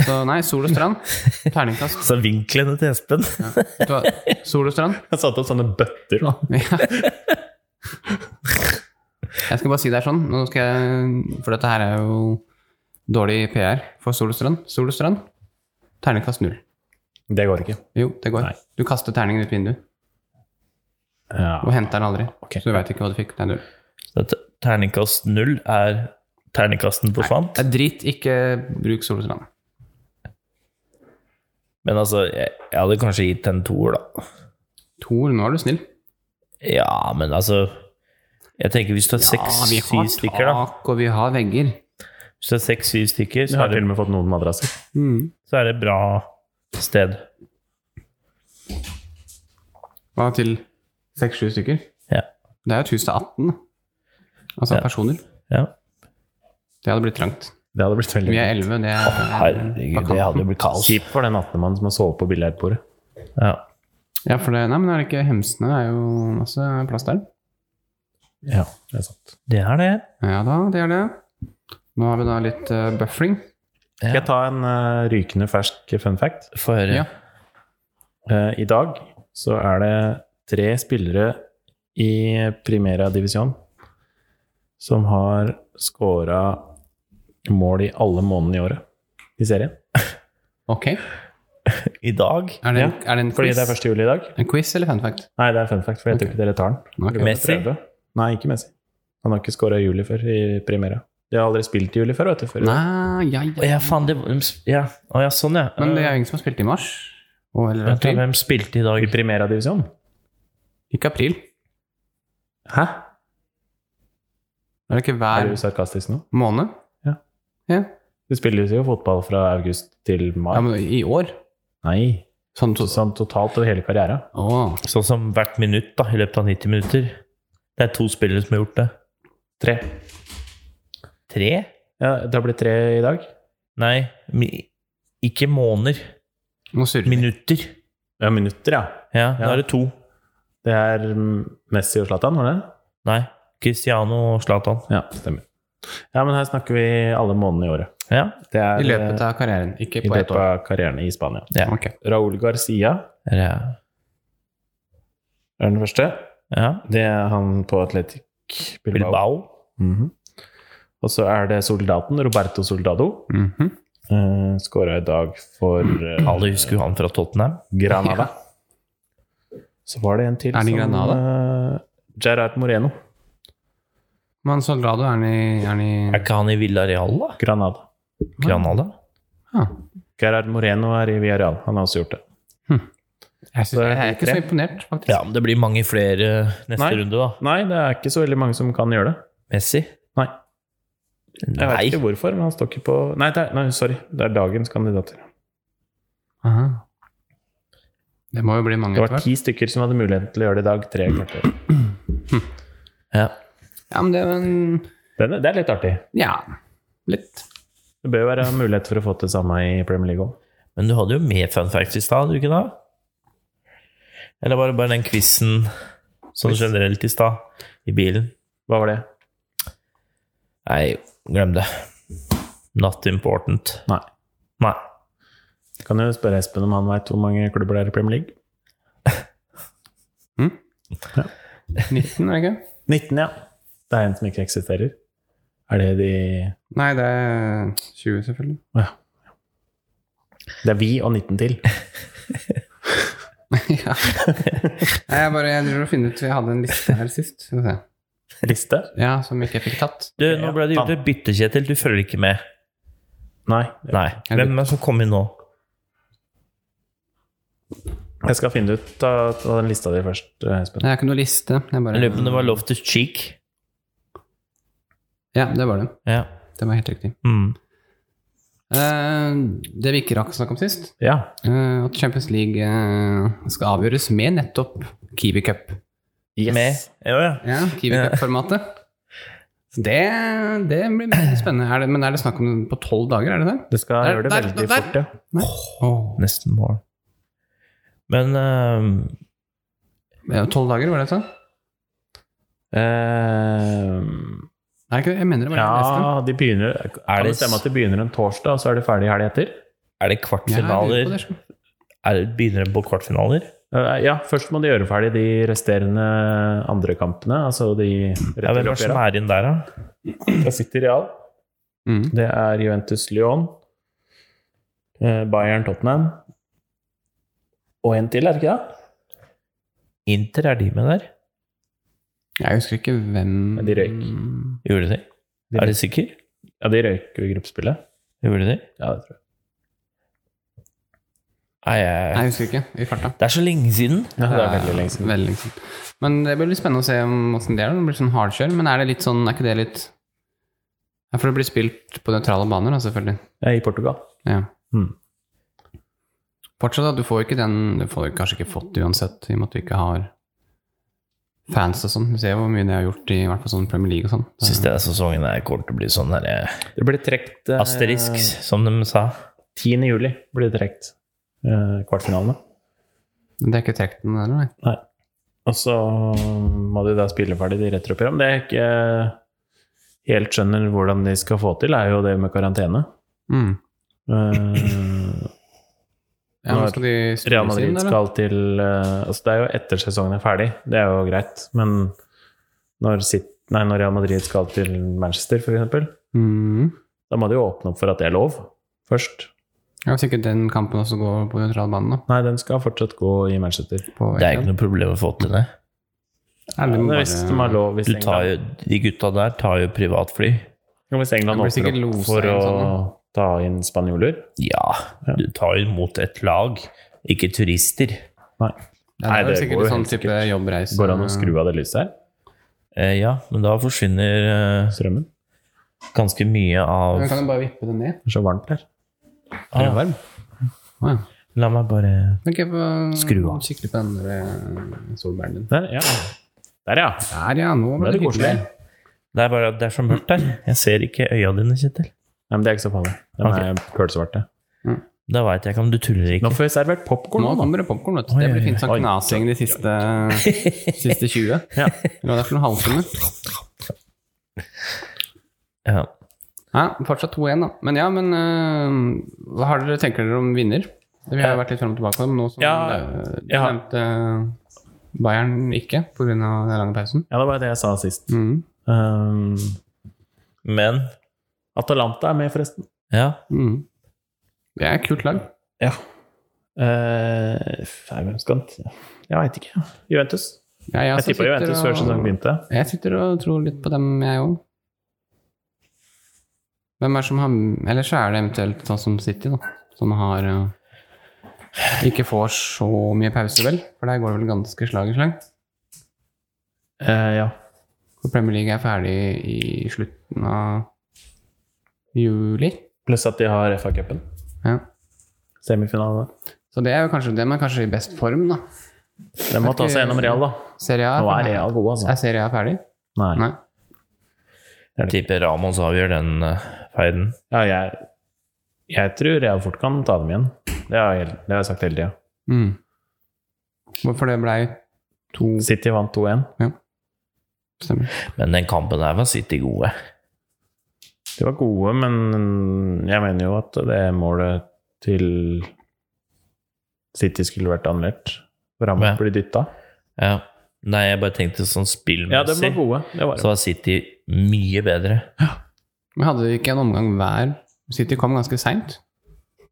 C: Så nei, Sol og Strand. Terningkast.
B: Så vinklene til Espen
C: Vet du hva? Sol og Strand.
A: Jeg satte opp sånne bøtter. da.
C: Ja. Jeg skal bare si det er sånn, nå skal jeg, for dette her er jo dårlig PR for Solestrand. Solestrand, terningkast null.
A: Det går ikke.
C: Jo, det går.
A: Nei.
C: Du kaster terningen ut vinduet og
A: Ja.
C: henter den aldri.
A: Ok.
C: Så du veit ikke hva du fikk. Det er null.
B: Så t- Terningkast null er terningkasten forsvant.
C: Det er drit, ikke bruk Solestrand.
B: Men altså, jeg, jeg hadde kanskje gitt en toer, da.
C: Tor, nå er du snill.
B: Ja, men altså Jeg tenker hvis du har
C: Ah, vi
B: seks-syv
C: har
B: stykker, da.
C: tak, og vi har vegger.
B: Hvis du har seks-syv stykker,
A: Jeg
B: så
A: har
B: er,
A: til
B: det,
A: og med fått noen madrasser.
C: Mm.
B: så er det bra sted.
C: Hva til seks-sju stykker?
B: Ja.
C: Det er jo et hus til 18. Altså
B: Ja.
C: personer.
B: ja.
C: Det hadde blitt trangt.
A: Det hadde blitt veldig
C: Vi er 11, det er
B: Herregud, det hadde jo blitt kaos.
A: Kjipt for den 18-mannen som har sovet på billardbordet.
B: Ja.
C: Ja, for det, nei, men er det ikke Hemsene er jo masse plass der.
A: Ja, det er sant.
B: Det er det.
C: Ja da, det er det. Nå har vi da litt eh, buffering.
A: Skal jeg ta en eh, rykende fersk fun fact?
B: Få høre.
C: Ja.
A: Eh, I dag så er det tre spillere i Primera Divisjon som har scora mål i alle månedene i året i serien.
C: Ok.
B: I dag
C: Er det, en- er det en,
A: Fordi
C: quiz?
A: det er 1. juli i dag.
C: en quiz eller fun fact?
A: Nei, det er fun fact, for jeg tror
C: Ok.
A: ikke dere tar den.
C: Nå er ikke det.
B: Messi?
A: Prøve. Nei, ikke Messi. Han har ikke scora i juli før i Primera. De har aldri spilt i juli før, vet du. Før.
C: Nei, ja,
B: Å
C: ja.
B: ja, faen, det Ja, Å, ja sånn, ja.
C: Men det er jo ingen som har spilt i mars. Og, eller
B: Vent, da,
C: april.
B: hvem spilte i dag?
A: I Primera Divisjon.
C: Ikke april.
A: Hæ?
C: Er det ikke hver
A: Er du sarkastisk nå?
C: måned?
A: Ja.
C: ja.
A: Det spilles jo fotball fra august til mai.
C: Ja, men i år?
A: Nei,
C: Sånn to...
A: sånn totalt over hele karrieren.
C: Åh.
B: Sånn som hvert minutt da, i løpet av 90 minutter. Det er to spillere som har gjort det.
A: Tre.
B: Tre?
A: Ja, det har blitt tre i dag.
B: Nei, mi, ikke måneder.
C: Nå surrer vi.
B: Minutter.
A: Ja, minutter, ja.
B: Ja, da
A: Ja.
B: er det to.
A: Det er mm, Messi og Zlatan, var det?
B: Nei, Cristiano og Zlatan.
A: Ja, stemmer. Ja, men her snakker vi alle månedene i året.
B: Ja,
A: Det er eh,
C: I løpet av karrieren, ikke
A: i
C: på ett
A: løpet
C: år.
A: av karrieren i Spania.
B: ja.
C: Ok.
A: Raúl Garcia
B: Er det,
A: er den første.
B: ja.
A: Det er han på Atletic Bilbao.
B: Bilbao.
A: Mhm. Og så er det soldaten Roberto Soldado.
C: Mhm.
A: Uh, Skåra i dag for eh,
B: (clears throat) Alle husker jo han fra Tottenham.
A: Granada. Så var det en til
C: Er det Granada?
A: eh, Gerard Moreno.
C: Men Soldado, er han i, er han i...
B: Er ikke han i Villarreal, da?
A: Granada.
B: Granada?
C: Ja.
A: Gerard Moreno er i Villarreal. Han har også gjort det.
C: Jeg, synes,
A: Så er
C: jeg
A: det
C: er ikke
A: tre.
C: så imponert, faktisk.
B: Ja, men det blir mange flere eh, neste
A: Nei.
B: runde, da.
A: Nei, det er ikke så veldig mange som kan gjøre det.
B: Messi?
A: Nei. Jeg vet
B: Nei.
A: ikke hvorfor, men han står ikke på Nei, det er, nei sorry. Det er dagens kandidater.
C: Aha. Det må jo bli mange
A: Det
C: etter
A: var
C: hvert.
A: ti stykker som hadde muligheten til å gjøre det i dag. Tre kvarter.
B: Ja.
C: Ja, men det er jo en
A: Den er- Det er litt artig.
C: Ja, litt.
A: Det bør jo være mulighet for å få til det samme i Premier League òg.
B: Men du hadde jo mer fun facts i stad, hadde du ikke da? Eller var det bare den quizen sånn generelt i stad? I bilen?
A: Hva var det?
B: Nei, glem det. Not important.
A: Nei.
B: Nei.
A: Kan jo spørre Espen om han veit hvor mange klubber det er i Premier League.
C: 19, er det ikke?
A: 19, ja. Det er en som ikke eksisterer. Er det de
C: Nei, det er 20, selvfølgelig.
A: Å ja. Det er vi og 19 til.
C: (laughs) ja. Nei, jeg bare jeg driver og finner ut Jeg hadde en liste her sist. Skal vi se.
A: Liste?
C: Ja, som ikke jeg fikk tatt.
B: Du, nå ble det gjort et bytte, Kjetil. Du følger ikke med.
A: Nei.
B: Nei. Hvem er det som kom inn nå?
A: Jeg skal finne ut av av den lista di først, Espen.
C: Jeg har ikke noe liste. Jeg
B: Jeg lurer på om
C: bare,
B: det var Loftus Cheek.
C: ja, det var det.
B: Ja.
C: Det var helt riktig.
B: Mm.
C: Eh, det vi ikke rakk å snakke om sist,
A: Ja.
C: eh, at Champions League eh, skal avgjøres med nettopp Kiwi Cup.
A: Yes.
B: Med Ja, ja.
C: Ja, Kiwi
B: Ja.
C: Cup-formatet. Det, det blir mer spennende. Er det, men er det snakk om på tolv dager, er det det?
A: Det skal
C: Der,
A: gjøre det
C: der,
A: veldig
C: der.
A: fort, ja.
C: Åh.
B: Nesten mål. Men eh,
C: Ja, Tolv dager, var det sånn?
A: Eh,
C: Er det ikke det? Jeg mener det var det jeg leste.
A: ja, de begynner Kan
B: det
A: det stemme at de begynner en torsdag, og så er de ferdig helga etter?
B: er det
C: Jeg lurer på
B: kvartfinaler?
C: det, sånn.
B: Er det begynner det på kvartfinaler?
A: Eh, Ja, først må de gjøre ferdig de resterende andre kampene. Altså de
B: Ja, hvem er det som
A: returoppgjørene.
B: er inn der, da?
A: Det sitter Real.
C: Mm.
A: Det er Juventus Lyon, eh, Bayern Tottenham og en til, er det ikke det?
B: Inter, er de med der?
C: Jeg husker ikke hvem
A: Men de røyk.
B: Gjorde de?
A: De-
B: Er du sikker?
A: Ja, de røyker jo i gruppespillet.
B: Gjorde de?
A: Ja, det tror jeg.
B: Nei,
C: Nei,
B: jeg,
C: jeg husker ikke. I farta.
B: det er så lenge siden.
A: Ja, det er veldig lenge siden.
C: Veldig lenge siden. Men det blir litt spennende å se om åssen det er. Det blir sånn hardkjør, men er det litt sånn Er ikke det litt Ja, for det blir spilt på nøytrale baner, da, selvfølgelig.
A: Ja, I Portugal.
C: Ja.
A: Mm.
C: Fortsatt, da. Du får ikke den Du får kanskje ikke fått det uansett, i og med at du ikke har fans og sånn. Du ser jo hvor mye det har gjort i i hvert fall sånn Premier League og sånn.
B: Syns denne sesongen her kommer til å bli sånn der, eh,
A: Det blir trukket eh,
B: asterisk, som de sa.
A: 10. juli blir det trukket eh, kvartfinalene.
C: Men Det er ikke trukket den der, nei.
A: Og så må de da spille ferdig de retroprogram. Det jeg ikke helt skjønner hvordan de skal få til, er jo det med karantene.
C: Mm.
A: Eh,
C: Ja, men skal de
A: Real
C: spilles
A: Madrid
C: inn, eller?
A: skal til eh, Altså, det er jo etter sesongen er ferdig, det er jo greit, men når, Sit- nei, når Real Madrid skal til Manchester, f.eks.,
C: Mm.
A: da må de jo åpne opp for at det er lov, først.
C: Ja, Hvis ikke den kampen også går på nøytral bane, da.
A: Nei, den skal fortsatt gå i Manchester.
C: På
B: Det er ikke noe problem å få til det.
A: Ja,
C: Eller
A: men
C: bare-
A: hvis de har lov hvis
B: Du tar jo,
A: England,
B: de gutta der tar jo privatfly.
A: Ja, hvis England
C: Det blir
A: åpner
C: sikkert
A: opp
C: losa
A: for
C: inn
A: å
C: sånn,
A: ta inn spanjoler
B: Ja,
A: Ja.
B: du tar jo imot et lag, ikke turister.
A: Nei.
C: Ja,
A: Nei,
C: det er
A: det
C: sikkert
A: går jo
C: en
A: helt
C: sånn type
A: sikkert.
C: jobbreise.
A: Går det an å skru av det lyset her?
B: Eh, ja, men da forsvinner eh,
A: Strømmen?
B: ganske mye av
C: Men kan du bare vippe det ned?
A: Det er så varmt der. Er det
B: ah,
A: varm?
C: Å ja.
B: La meg bare
C: Men kan jeg få
B: Skru av.
C: kikke litt på den der eh, solbæren din.
A: Der, ja. Der, ja.
C: Der, ja. Nå ble
A: Nå er det
C: det hyggelig.
A: koselig.
B: Det er bare at det er så mørkt der. Jeg ser ikke øya dine, Kjetil.
A: Nei, men det er ikke så farlig. De er kølsvarte.
B: Da veit jeg ikke om du tuller
A: Nå
B: ikke.
A: får vi servert popkorn.
C: Nå kommer det popkorn, vet du. Det
B: Oi,
C: blir
B: oi,
C: fint sånn
A: oi.
C: knasing de siste, siste 20.
A: Ja.
C: Eller hva det er for noen halvtime.
B: Ja.
C: Ja, fortsatt 2-1, da. Men ja, men eh, hva har dere, tenker dere om vinner? Det Vi har jo vært litt fram og tilbake om nå som
A: Ja,
C: eh, du
A: ja.
C: nevnte eh, Bayern ikke pga. den lange pausen.
A: Ja, det var det jeg sa sist.
C: Mm.
A: Um,
B: Men
A: Atalanta er med, forresten.
B: ja,
C: Mm. Det er et kult lag.
A: Ja. Uh, hvem skal han Jeg veit ikke. Juventus.
C: Ja,
A: Jeg
C: altså
A: tippa Juventus
C: sitter
A: før
C: og-
A: sesongen begynte.
C: Jeg sitter og tror litt på dem, jeg òg. Hvem er det som har Eller så er det eventuelt sånn som City, da. Som har eh, Ikke får så mye pause, vel? For der går det vel ganske slag i slag.
A: Eh, ja.
C: For Premier League er ferdig i slutten av juli.
A: Pluss at de har FA-cupen.
C: Ja.
A: Semifinale.
C: Så det er jo kanskje dem er kanskje i best form, da.
A: De må ta seg gjennom Real, da.
C: Serie A
A: Nå er Real gode, altså.
C: Er Serie A ferdig?
A: Nei.
C: Nei.
B: jeg tipper Ramos avgjør den uh, feiden.
A: Ja, jeg, jeg tror Real fort kan ta dem igjen. Det har jeg, det har jeg sagt hele tida.
C: Mm. Hvorfor det blei to
A: City vant 2-1.
C: Stemmer.
B: Men den kampen her var City gode.
A: De var gode, men jeg mener jo at det målet til City skulle vært annullert. For Ramos
B: Ja.
A: blir dytta.
B: Ja. Nei, jeg bare tenkte sånn
A: Ja, de
B: spillmessig,
A: var gode. Det var
B: så
A: det.
B: var City mye bedre.
C: Men hadde de ikke en omgang hver? City kom ganske seint.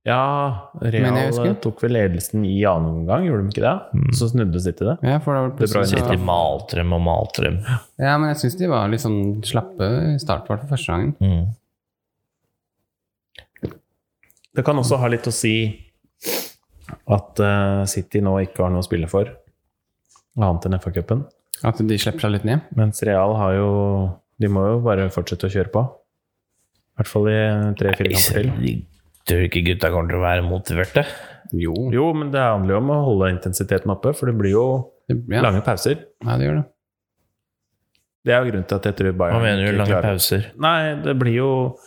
A: Ja,
C: Men jeg
A: Real eh,
C: husker.
A: tok vel ledelsen i annen omgang, gjorde de ikke det?
B: Mm.
A: Så snudde City det.
C: Ja, for det var
A: Det er bra
C: plutselig
B: City
C: så-
B: malte dem og malte dem.
C: ja, men jeg syns de var litt sånn slappe i start, i hvert fall første gangen.
B: Mm.
A: Det kan også ha litt å si at eh, City nå ikke har noe å spille for, annet enn FA-cupen.
C: At de slipper seg litt ned.
A: Mens Real har jo De må jo bare fortsette å kjøre på. I hvert fall i tre-fire kamper til.
B: Jeg tror ikke gutta kommer til å være motiverte.
C: Jo.
A: Jo, men det handler jo om å holde intensiteten oppe, for det blir jo
C: Det, ja.
A: lange pauser.
C: ja, det gjør det.
A: Det er jo grunnen til at jeg tror
B: Hva
A: Bayern
B: mener du?
A: ikke
B: Lange
A: klarer
B: pauser?
A: Nei, det blir jo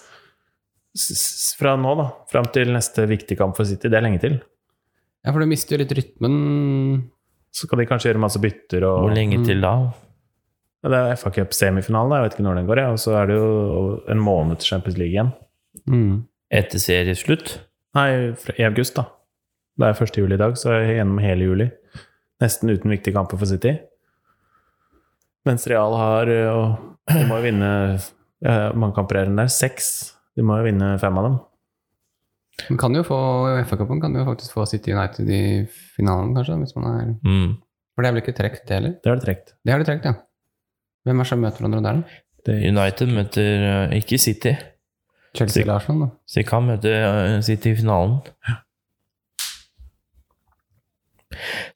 A: s- s- Fra nå, da, fram til neste viktige kamp for City, det er lenge til.
C: Ja, for du mister jo litt rytmen.
A: Så skal de kanskje gjøre masse bytter og
B: Hvor lenge til da?
A: Ja, Det er FA Cup-semifinalen, jeg vet ikke når den går, jeg. Og så er det jo en måned til Champions League igjen.
C: Mm.
B: Etter serieslutt?
A: Nei, fra- i august, da. Det er 1. juli i dag, så er jeg gjennom hele juli. Nesten uten viktige kamper for City. Mens Real har ø, og De må jo vinne ja, Hvor mange kamper er det der? Seks? De må jo vinne fem av dem.
C: Man kan jo få FA-cupen kan jo faktisk få City United i finalen, kanskje. Hvis man er
B: Mm.
C: For det er vel ikke trukket, det heller?
A: Det er det trukket.
C: Det har de trukket, ja. Hvem er det som møter hverandre der, da?
A: Det-
B: United møter eh, ikke City,
C: Chelsea eller Arsenal, da?
B: så de kan møte eh, City i finalen.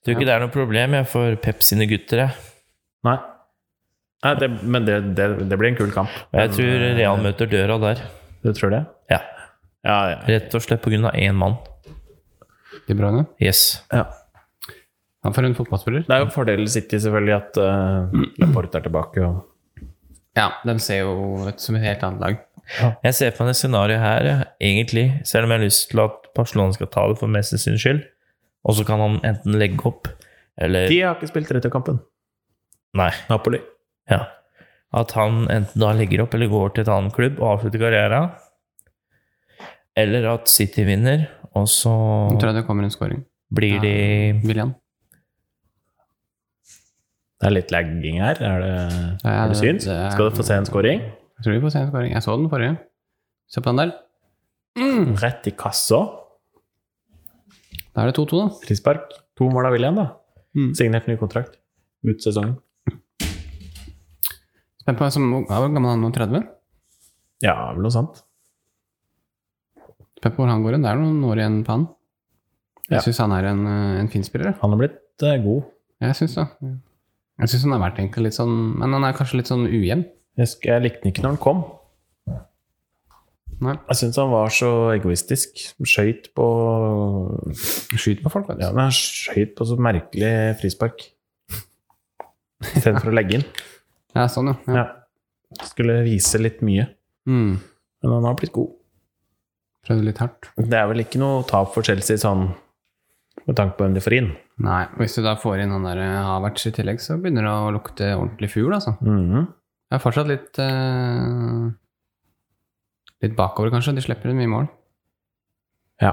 B: Tror ikke det er noe problem jeg for Pep sine gutter. Jeg,
A: Nei. Nei det, men det, det, det blir en kul kamp.
B: Og jeg tror
A: Men, eh, ø,
B: Real møter døra der.
A: Du tror det?
B: Ja,
A: Ja, ja.
B: Rett og slett pga. én mann.
C: De Bruyne?
B: Yes.
A: ja.
C: Han for en fotballspiller?
A: Det er jo en fordel City, selvfølgelig, at uh, Laporte er tilbake. Og
C: Ja, de ser jo ut som et helt annet lag.
B: Jeg ser på meg det scenarioet her, jeg, egentlig, selv om jeg har lyst til at Barcelona skal ta det for Messi sin skyld, og så kan han enten legge opp, eller
A: de har ikke spilt returkampen.
B: Nei.
A: Napoli.
B: Ja. At han enten da legger opp eller går til et annet klubb og avslutter karrieren. Eller at City vinner, og så
C: Nå tror jeg det kommer en scoring.
B: blir de
C: William.
A: Det er litt lagging her. Er det,
C: Ja,
A: er det
C: det-
A: syns?
C: det er-
A: Skal du få se en scoring?
C: Jeg tror vi får se en scoring. Jeg så den forrige. Se på den der. Mm.
A: Rett i kassa.
C: Da er det 2-2, da.
A: Frispark. To mål av William, da.
C: Mm.
A: Signert ny kontrakt. Ut sesongen.
C: Spent på hvem som ja, Hvor gammel er han nå? 30?
A: Ja, vel noe sant.
C: Spent på hvor han går hen. Det er noen år igjen på han.
A: Ja.
C: Jeg synes syns han er en, eh, en fin spiller. jeg.
A: Han har blitt eh, god.
C: Jeg syns det. Jeg syns han har vært egentlig litt sånn Men han er kanskje litt sånn ujevn.
A: Jeg, sk jeg likte den ikke når han kom.
C: Nei.
A: Jeg syns han var så egoistisk. Skøyt på
C: Skyter på folk, vet du.
A: Ja, men han skøyt på så merkelig frispark. Istedenfor å legge inn.
C: Ja, sånn, ja. ja.
A: Ja. Skulle vise litt mye.
C: Mm.
A: Men han har blitt god.
C: Prøvde litt hardt.
A: Det er vel ikke noe tap for Chelsea sånn med tanke på hvem de får inn.
C: Nei. Hvis du da får inn han der eh, Havertz i tillegg, så begynner det å lukte ordentlig fugl, altså.
A: Mhm.
C: Jeg er fortsatt litt eh, Litt bakover, kanskje. De slipper inn mye mål.
A: Ja.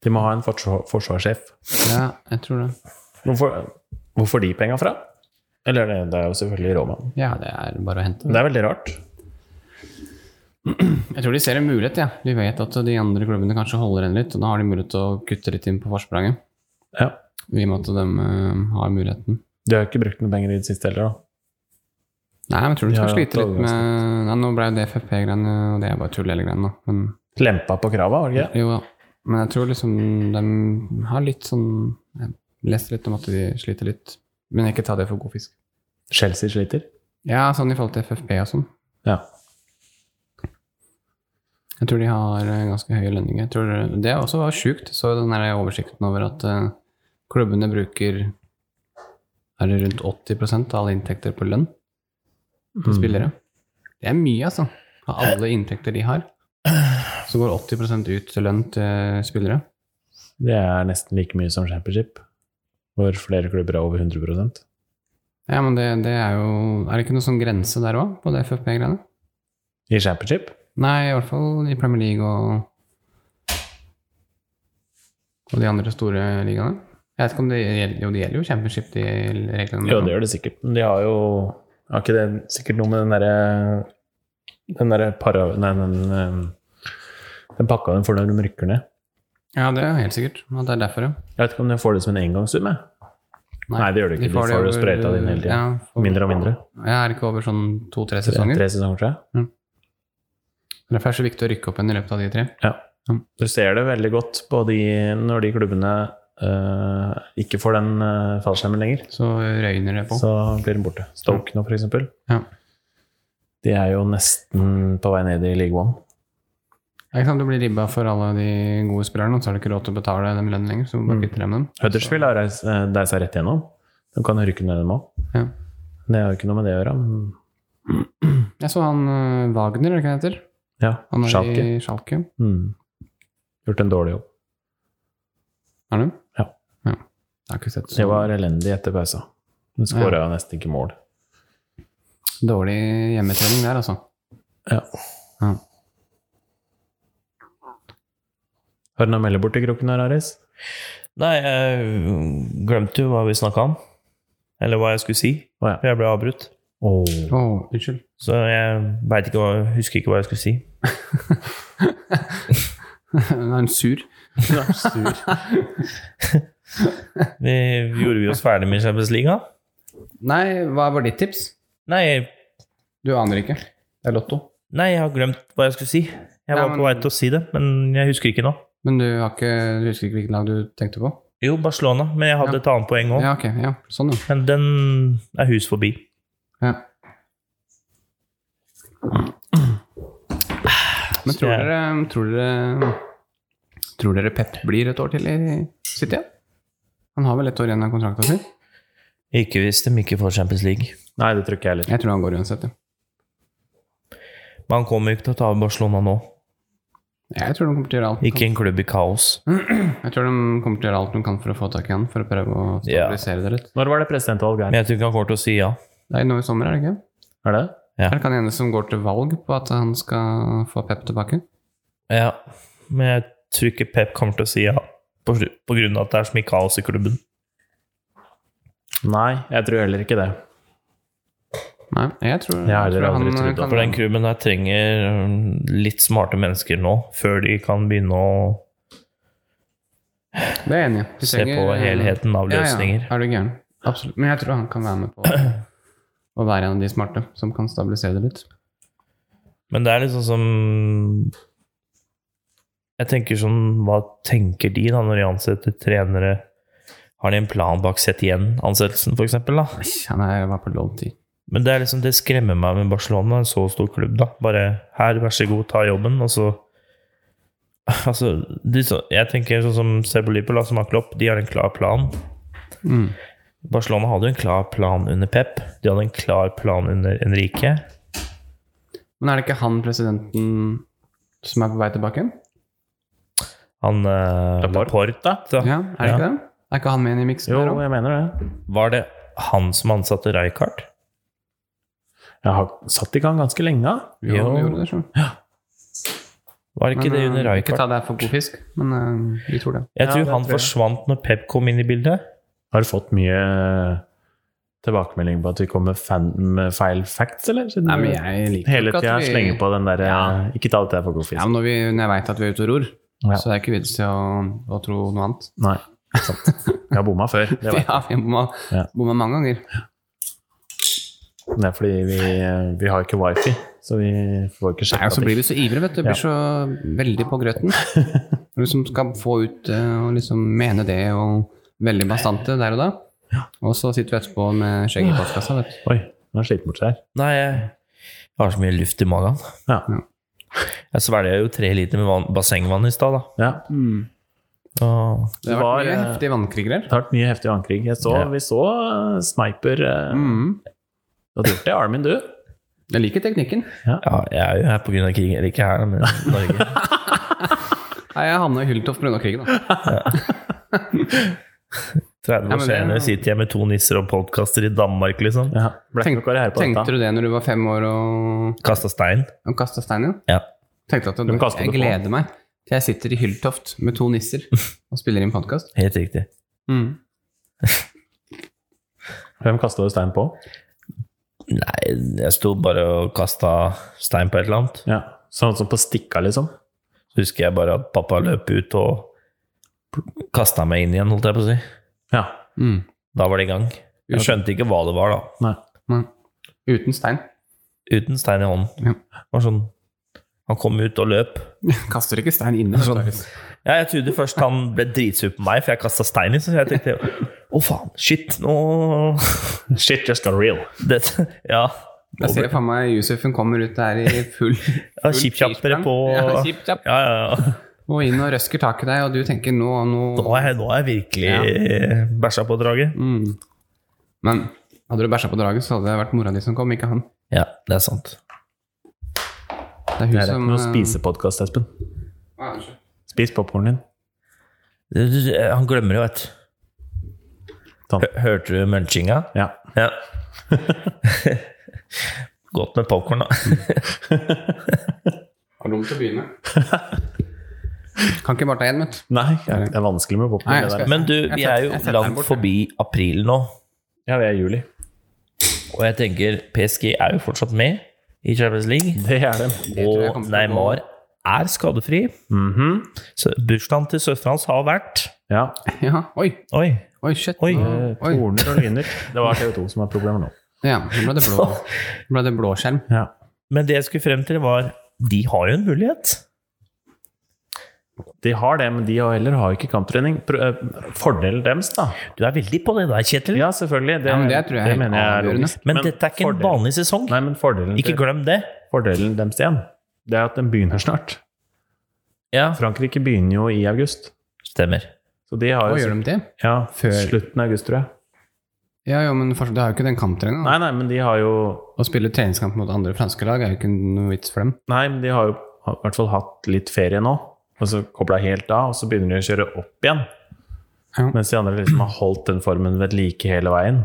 A: De må ha en forsvar forsvarssjef.
C: Ja, jeg tror det.
A: Hvorfor, hvor får de penga fra? Eller det, det er jo selvfølgelig råmann.
C: Ja, det er bare å hente.
A: Men det er veldig rart.
C: Jeg tror de ser en mulighet, ja. De vet at de andre klubbene kanskje holder igjen litt, og da har de mulighet til å kutte litt inn på forspranget.
A: Ja.
C: I og med at de eh, har muligheten.
A: De har jo ikke brukt noen penger i det siste heller, da.
C: Nei, men jeg tror de
A: De
C: skal
A: har
C: slite
A: hatt
C: litt med Nei, nå ble jo det FFP-greiene, og det er bare tull hele greien, da. Men
A: Lempa på krava, var det ikke?
C: Jo da. Men jeg tror liksom de har litt sånn Jeg leste litt om at de sliter litt. Men ikke ta det for god fisk.
A: Chelsea sliter.
C: Ja, sånn i forhold til FFP og sånn.
A: Ja.
C: Jeg tror de har eh, ganske høye lønninger. Jeg tror det også var sjukt. Så den der oversikten over at eh, klubbene bruker er det rundt 80 av alle inntekter på lønn
A: Mm.
C: til spillere. Det er mye, altså. Av alle inntekter de har, så går 80 ut til lønn til spillere.
A: Det er nesten like mye som Championship, hvor flere klubber er over 100
C: Ja, men det, det er jo Er det ikke noe sånn grense der òg, på det FFP-greiene?
A: I Championship?
C: Nei, i hvert fall i Premier League og Og de andre store ligaene. Jeg vet ikke om det gjelder Jo, det gjelder jo championship, de reglene.
A: Jo, det gjør det sikkert. Men de har jo Har ikke det sikkert noe med den derre Den derre para... Nei, den eh, Den pakka de får når de rykker ned.
C: Ja, det er helt sikkert. Og det er derfor, ja.
A: Jeg vet ikke om de får det som en engangssum, jeg. Nei, det gjør det ikke. De får jo
C: over-
A: sprøyta det inn hele tiden.
C: Ja, for-
A: Mindre og mindre.
C: Ja, er det ikke over sånn to-tre
A: Tre
C: sesonger?
A: sesonger, tror jeg.
C: Derfor er det så viktig å rykke opp igjen i løpet av de tre.
A: Ja.
C: Mm.
A: Du ser det veldig godt på de, når de klubbene eh, ikke får den eh, fallskjermen lenger.
C: Så røyner det på.
A: Så blir den borte. Stoke nå, for eksempel.
C: Ja.
A: De er jo nesten på vei ned i league one.
C: Ja, Ikke sant? Du blir ribba for alle de gode spillerne, og så har du ikke råd til å betale dem lønn lenger. Så bare kvitter dem med dem.
A: Mm. Huddersfield har reist- eh, deisa rett gjennom. De kan rykke ned, dem òg.
C: Ja.
A: Det har jo ikke noe med det å gjøre, men
C: Jeg så han eh, Wagner, er det ikke han heter?
A: ja.
C: Han er
A: Schalke.
C: i Schalke.
A: Mm. Gjort en dårlig jobb.
C: Er han det?
A: Ja.
C: ja. Jeg har ikke sett
A: Det
C: så
A: var elendig etter pausa. Hun skåra nesten ikke mål.
C: dårlig hjemmetrening der, altså.
A: Ja.
C: Ja.
A: Har du noe å melde bort til Kroken her, Aris?
B: Nei, jeg glemte jo hva vi snakka om. Eller hva jeg skulle si.
A: Å ja.
B: For jeg ble avbrutt.
A: Åh.
C: Å, unnskyld.
B: Så jeg vet ikke hva, husker ikke hva jeg skulle si.
C: Nå er (laughs) han sur.
B: Vi, gjorde vi oss ferdig med Champions League? da?
C: Nei, hva var ditt tips?
B: Nei,
C: Du aner ikke. Det er Lotto.
B: nei, jeg har glemt hva jeg skulle si. Jeg
C: Nei,
B: var
C: men-
B: på vei til å si det, men jeg husker ikke nå.
C: Men du, har ikke, du husker ikke hvilket lag du tenkte på?
B: Jo, Barcelona, men jeg hadde
C: Ja.
B: et annet poeng òg.
C: Ja, ok. Ja, sånn, ja.
B: Men den er hus forbi.
C: ja. Men tror
B: jeg-
C: dere, tror dere Tror dere Pep blir et år til i City? Han har vel et år igjen av kontrakta si?
B: Ikke hvis de ikke får Champions League.
A: Nei, det tror ikke jeg heller.
C: Jeg tror han går uansett, ja.
B: Men han kommer ikke til å ta over Barcelona nå.
C: Jeg tror de kommer til å gjøre alt. de
B: Ikke en klubb i kaos.
C: kan. Jeg tror de kommer til å gjøre alt de kan for å få tak i han, for å prøve å
B: Ja.
C: stabilisere det litt.
A: Når var det presidentvalg her?
B: Men jeg tror ikke han kommer til å si ja.
C: Det er nå i sommer, er det ikke?
A: Er det?
B: Ja.
C: Er det ikke han ene som går til valg på at han skal få Pep tilbake?
B: ja. Men jeg tror ikke Pep kommer til å si ja. På, slu- på grunn av at det er så mye kaos i klubben.
A: Nei, jeg tror heller ikke det.
C: Nei, jeg tror,
A: Jeg har heller
C: tror
A: aldri trodd det,
B: For den
C: Mm.
B: klubben der trenger um, litt smarte mennesker nå, før de kan begynne å
C: Det er jeg enig i. Vi
B: se på
C: trenger- um,
B: helheten av løsninger.
C: Ja, ja. Er du gæren? Absolutt. Men jeg tror han kan være med på å være en av de smarte som kan stabilisere det litt.
B: Men det er litt sånn som Jeg tenker sånn Hva tenker de da når de ansetter trenere? Har de en plan bak sett igjen-ansettelsen, for eksempel, da?
C: Æsj, Han er, var på lånt tid.
B: Men det, er liksom, det skremmer meg med Barcelona, en så stor klubb. da. Bare her, vær så god, ta jobben, og så (laughs) Altså, de, så, jeg tenker sånn som Sebolipo, la som har klopp, de har en klar plan.
C: Mm.
B: Barcelona hadde jo en klar plan under Pep. De hadde en klar plan under Enrique.
C: Men er det ikke han presidenten som er på vei tilbake?
B: Han eh,
A: Laporte.
B: Laporte, da.
C: Ja, er det ikke det? Er ikke han med inn i miksen?
A: Jo,
C: der også?
A: jeg mener det.
B: Var det han som ansatte Rijkaard?
A: Jeg har satt i gang ganske lenge. da.
C: jo.
B: jo.
C: han gjorde det, så.
B: Var det ikke
C: Men,
B: det
C: eh,
B: under
C: Ikke ta
B: Rijkaard?
C: det for god fisk, men eh, vi tror det.
B: Jeg
A: Ja,
B: tror
A: det
B: han
A: tror jeg.
B: forsvant når Pep kom inn i bildet.
A: Har du fått mye tilbakemelding på at vi kommer fan med feil facts, eller? Siden
C: Nei, men
A: du
C: jeg liker
A: hele
C: ikke at
A: tida
C: vi-
A: slenger på den derre Ikke ta dette her for god fisk.
C: Ja, men når, vi, når jeg veit at vi er ute og ror,
A: Ja.
C: så er det ikke vits i å, å tro noe annet.
A: Nei. Sant. Jeg har bomma før.
C: (laughs)
A: Det, var.
C: Ja, vi bomma,
A: Ja.
C: bomma mange ganger.
A: det er fordi vi, eh, vi har ikke wifi, så vi får ikke
C: Nei, og
A: sjekka
C: så
A: ting.
C: blir vi så ivrige, vet du. Blir så veldig på (laughs) grøten. Du liksom skal få ut eh, og liksom mene det og veldig bastante der og da. Og så sitter vi etterpå med skjegget i postkassa, vet du.
A: Oi, nå er sliten bort seg her.
B: Nei, jeg jeg har så mye luft i magen.
A: Ja.
B: Jeg svelga jo tre liter med vann, bassengvann i stad, da.
A: ja.
C: Mm.
B: Og
C: Det har
A: var,
C: vært mye
A: eh,
C: heftige vannkriger her.
A: Det har vært mye heftig vannkrig. Jeg så,
B: Ja.
A: Vi så eh, sniper eh,
C: Mm.
A: Du hadde gjort det, Armin, du?
C: Jeg liker teknikken.
B: ja, jeg er jo her pga. krigen. Eller ikke her, da, men i
A: (laughs)
B: Norge.
C: Nei, jeg havna i Hyltoft pga. krigen, da.
B: 30
C: Ja,
B: år
C: men det-
B: senere sitter jeg med to nisser og podkaster i Danmark, liksom.
A: Ja. Ble ikke
C: Tenk-
A: noe karriere på
C: Tenkte
A: dette.
C: du det når du var fem år og,
B: Kasta stein.
C: og kasta stein igjen?
B: Ja.
C: Tenkte at
A: De
C: du,
A: kastet
C: jeg
A: det på.
C: gleder meg til jeg sitter i Hyltoft med to nisser og spiller inn podkast.
B: Helt riktig.
C: Mm.
A: Hvem kasta du stein på?
B: Nei, jeg sto bare og kasta stein på et eller annet.
A: Ja. Sånn som på stikka, liksom?
B: Så husker jeg bare at pappa løp ut og kasta meg inn igjen, holdt jeg på å si.
A: Ja.
C: Mm.
B: Da var det i gang. Jeg skjønte ikke hva det var, da.
A: Nei.
C: Men Uten stein.
B: Uten stein i hånden.
C: Ja.
B: Det var sånn Han kom ut og løp.
C: Kaster ikke stein inne. Sånn.
B: Ja, jeg trodde først han ble dritsur på meg, for jeg kasta stein, liksom. Så jeg tenkte å, faen, shit, nå
A: (laughs) Shit just got real.
B: det, Ja.
C: Jeg ser for meg Yusufen kommer ut der i full,
B: Ja,
C: full
B: Kjippkjappere
C: firsprang.
B: på
C: ja,
B: Ja,
C: kjippkjapp.
B: ja, ja.
C: Og inn og røsker tak i deg, og du tenker nå,
B: Nå
C: nå
B: har jeg, nå har jeg virkelig bæsja på draget.
C: mm. Men hadde du bæsja på draget, så hadde det vært mora di som kom, ikke han.
B: Ja, det er sant.
C: Det er hun
A: Det er
C: som
A: ikke noe
C: eh,
A: spisepodkast, Espen.
C: ja, unnskyld.
A: Spis popkornen din.
B: Du, du, du, Han glemmer jo et.
A: Sånn.
B: Hø- Hørte du munchinga?
A: Ja. (laughs)
B: Ja. (laughs) Godt med popkorn, da.
C: Har rom til å begynne. kan ikke bare ta én, vet du.
A: Nei, det er vanskelig med
C: Nei,
A: popkorn.
C: jeg
A: det der.
C: skal-
B: Men du, vi er
C: Jeg
B: jo
C: setter den
B: langt
C: bort, ja.
B: forbi april nå.
A: Ja, det er juli.
B: Og jeg tenker PSG er jo fortsatt med i Champions League.
A: Det er det.
C: Det tror jeg
B: Og
C: kommer til å gå-
B: Neymar er skadefri.
A: Mhm.
B: Så Bursdagen til søsteren hans har vært
A: Ja.
C: (laughs) Ja, oi,
B: Oi!
C: oi, shit.
B: Oi.
C: Nå-
A: Eh, Torner og lyner. Det var TV2 som har problemer nå.
C: Ja, nå ble det
A: (laughs)
C: blå, nå ble det blå skjerm.
A: Ja.
B: Men det jeg skulle frem til, var de har jo en mulighet.
A: De har det, men de har heller har ikke kamptrening. Pro- eh, Fordelen deres, da.
B: Du er veldig på det der, Kjetil.
A: Ja, selvfølgelig. Det,
C: Ja, men det tror jeg er helt
A: mener jeg er
C: avgjørende.
A: logisk.
B: Men, dette er ikke en
A: fordel-
B: vanlig sesong.
A: Nei, men fordelen,
B: Ikke
A: til,
B: glem det.
A: fordelen deres igjen, det er at den begynner snart.
B: Ja,
A: Frankrike begynner jo i august.
B: stemmer.
A: Så de har
C: Hva
A: jo
C: gjør de til?
A: ja,
C: Før-
A: slutten av august, tror jeg.
C: Ja, jo, men fortsatt, det har jo ikke den kamptreninga.
A: Nei, nei, men de har jo
C: Å spille treningskamp mot andre franske lag er jo ikke noe vits for dem.
A: Nei, men de har jo i hvert fall hatt litt ferie nå. Og så kobla helt av, og så begynner de å kjøre opp igjen.
C: Ja.
A: Mens de andre liksom har holdt den formen ved like hele veien.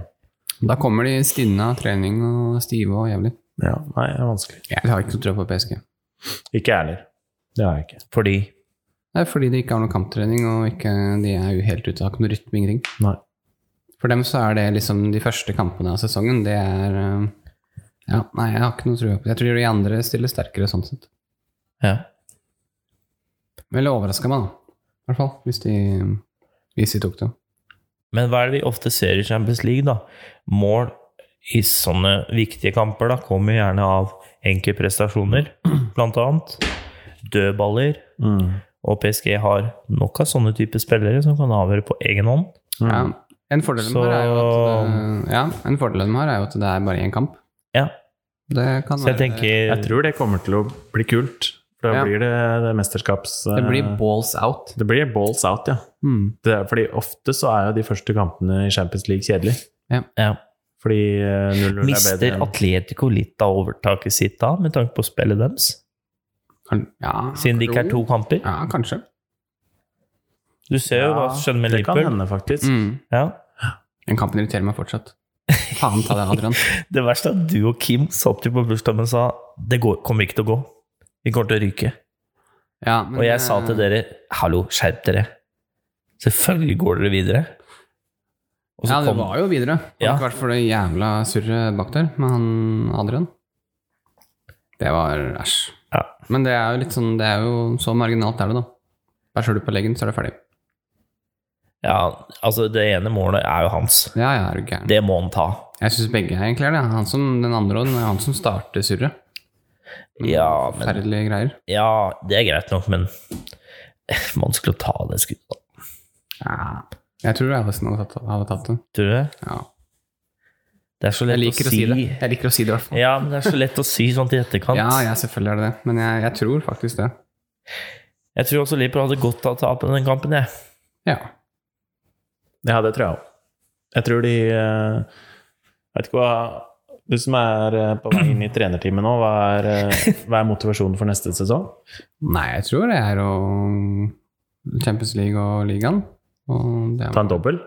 C: Da kommer de stinne av trening og stive og jævlig.
A: Ja, Nei, det er vanskelig.
C: Jeg har ikke noe tro på PSG.
A: Ikke jeg heller. Det har jeg ikke.
B: Fordi
C: Det er fordi de ikke har noe kamptrening, og ikke, de er jo helt ute av ikke noe rytme. Ingenting.
A: Nei.
C: For dem så er det liksom de første kampene av sesongen. Det er eh, Ja, nei, jeg har ikke noe tro på det. Jeg tror de andre stiller sterkere sånn sett.
B: Ja.
C: Veldig overraska meg, da. I hvert fall. Hvis de, hvis de tok det.
B: Men hva er det vi ofte ser i Champions League, da? Mål i sånne viktige kamper da, kommer gjerne av enkle prestasjoner, (clears throat) blant annet. Dødballer.
A: Mm.
B: Og PSG har nok av sånne typer spillere som kan avgjøre på egen hånd.
A: Mm.
C: Ja. En fordel
B: Så-
C: med det er jo at det, ja, en fordel med det er jo at det er bare én kamp.
B: Ja.
C: Det kan
B: Så jeg
C: være
A: Jeg
B: tenker
A: tror det kommer til å bli kult. For da
C: Ja.
A: blir det, det mesterskaps...
C: Det blir
A: eh,
C: balls out.
A: det blir balls out, ja.
C: Mm.
A: Det er, fordi ofte så er jo de første kampene i Champions League kjedelige.
B: ja.
A: Fordi eh, 0-0 er bedre
B: Mister
A: enn
B: Atletico litt av overtaket sitt da, med tanke på spillet deres?
C: Kan, ja,
B: Siden det ikke er to kamper.
C: Ja, kanskje.
B: Du ser jo hva som skjedde med
A: Det kan
B: Liverpool.
A: hende, faktisk.
C: Mm.
B: Ja.
C: Den kampen irriterer meg fortsatt. Faen ta det,
B: (laughs)
C: Adrian.
B: Det verste er at du og Kim satt jo på bursdagen og sa det går, kommer ikke til å gå. Vi kommer til å ryke.
C: Ja, men,
B: Og jeg sa til
C: eh,
B: dere hallo, skjerp dere. Selvfølgelig går dere videre. Og så
C: Ja, det
B: kom
C: var jo videre. Hadde
B: Ja.
C: ikke vært for det jævla surret bak der med han Adrian. Det var æsj.
B: Ja.
C: Men det er jo litt sånn Det er jo så marginalt er det, da. Bæsjer du på leggen, så er det ferdig.
B: ja, altså Det ene målet er jo hans.
C: Ja, ja, er du gæren.
B: Det må han ta.
C: Jeg syns begge er egentlig er det. Han som, den andre og den han som starter surret.
B: Ja, men-
C: Forferdelige greier.
B: Ja, det er greit nok, men (laughs) vanskelig å ta det skuddet. da.
C: Jeg tror Alison hadde tatt, hadde tatt det.
B: Tror du det?
C: Ja.
B: Det er så lett
C: Jeg
B: å
C: liker å
B: si,
C: si det. Jeg liker å si det, i hvert fall.
B: Ja, men det er så lett å si sånt i etterkant.
C: Ja, ja, selvfølgelig er det det. Men jeg, jeg tror faktisk det.
B: Jeg tror også Liverpool hadde godt av å tape den kampen, jeg.
C: Ja.
A: Ja, det tror jeg òg. Jeg tror de eh, Vet ikke hva Du som er eh, på vei inn i trenerteamet nå, hva er, eh, hva er motivasjonen for neste sesong?
C: Nei, jeg tror det er å Champions League og ligaen. Og det er,
A: Ta en dobbel?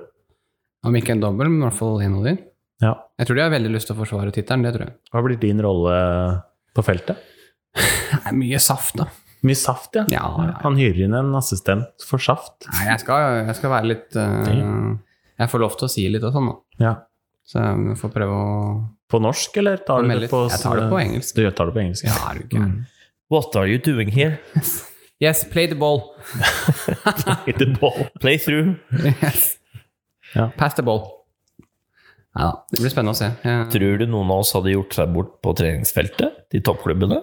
C: om ikke en dobbel, men i hvert fall en av de.
A: Ja.
C: Jeg tror de har veldig lyst til å forsvare tittelen, det tror jeg.
A: Hva blir din rolle på feltet?
C: Det er mye saft, da.
A: Mye saft, ja.
C: Ja, ja.
A: Han hyrer inn en assistent for saft.
C: Nei, jeg skal, jeg skal være litt eh, Jeg får lov til å si litt og sånn, da.
A: Ja.
C: Så jeg får prøve å
A: På norsk, eller tar du
C: melde
A: det
C: litt.
A: på Mm.
C: Jeg tar det på engelsk.
A: Du tar det på engelsk?
C: Ja, er du gæren.
B: What are you doing here?
C: Yes, play the
A: (laughs)
C: ball.
A: Hit the ball.
B: Play through.
C: Yes.
A: Ja.
C: Pass the ball. Nei da, det blir spennende å se. Jeg,
B: Tror du noen av oss hadde gjort seg bort på treningsfeltet til toppklubbene?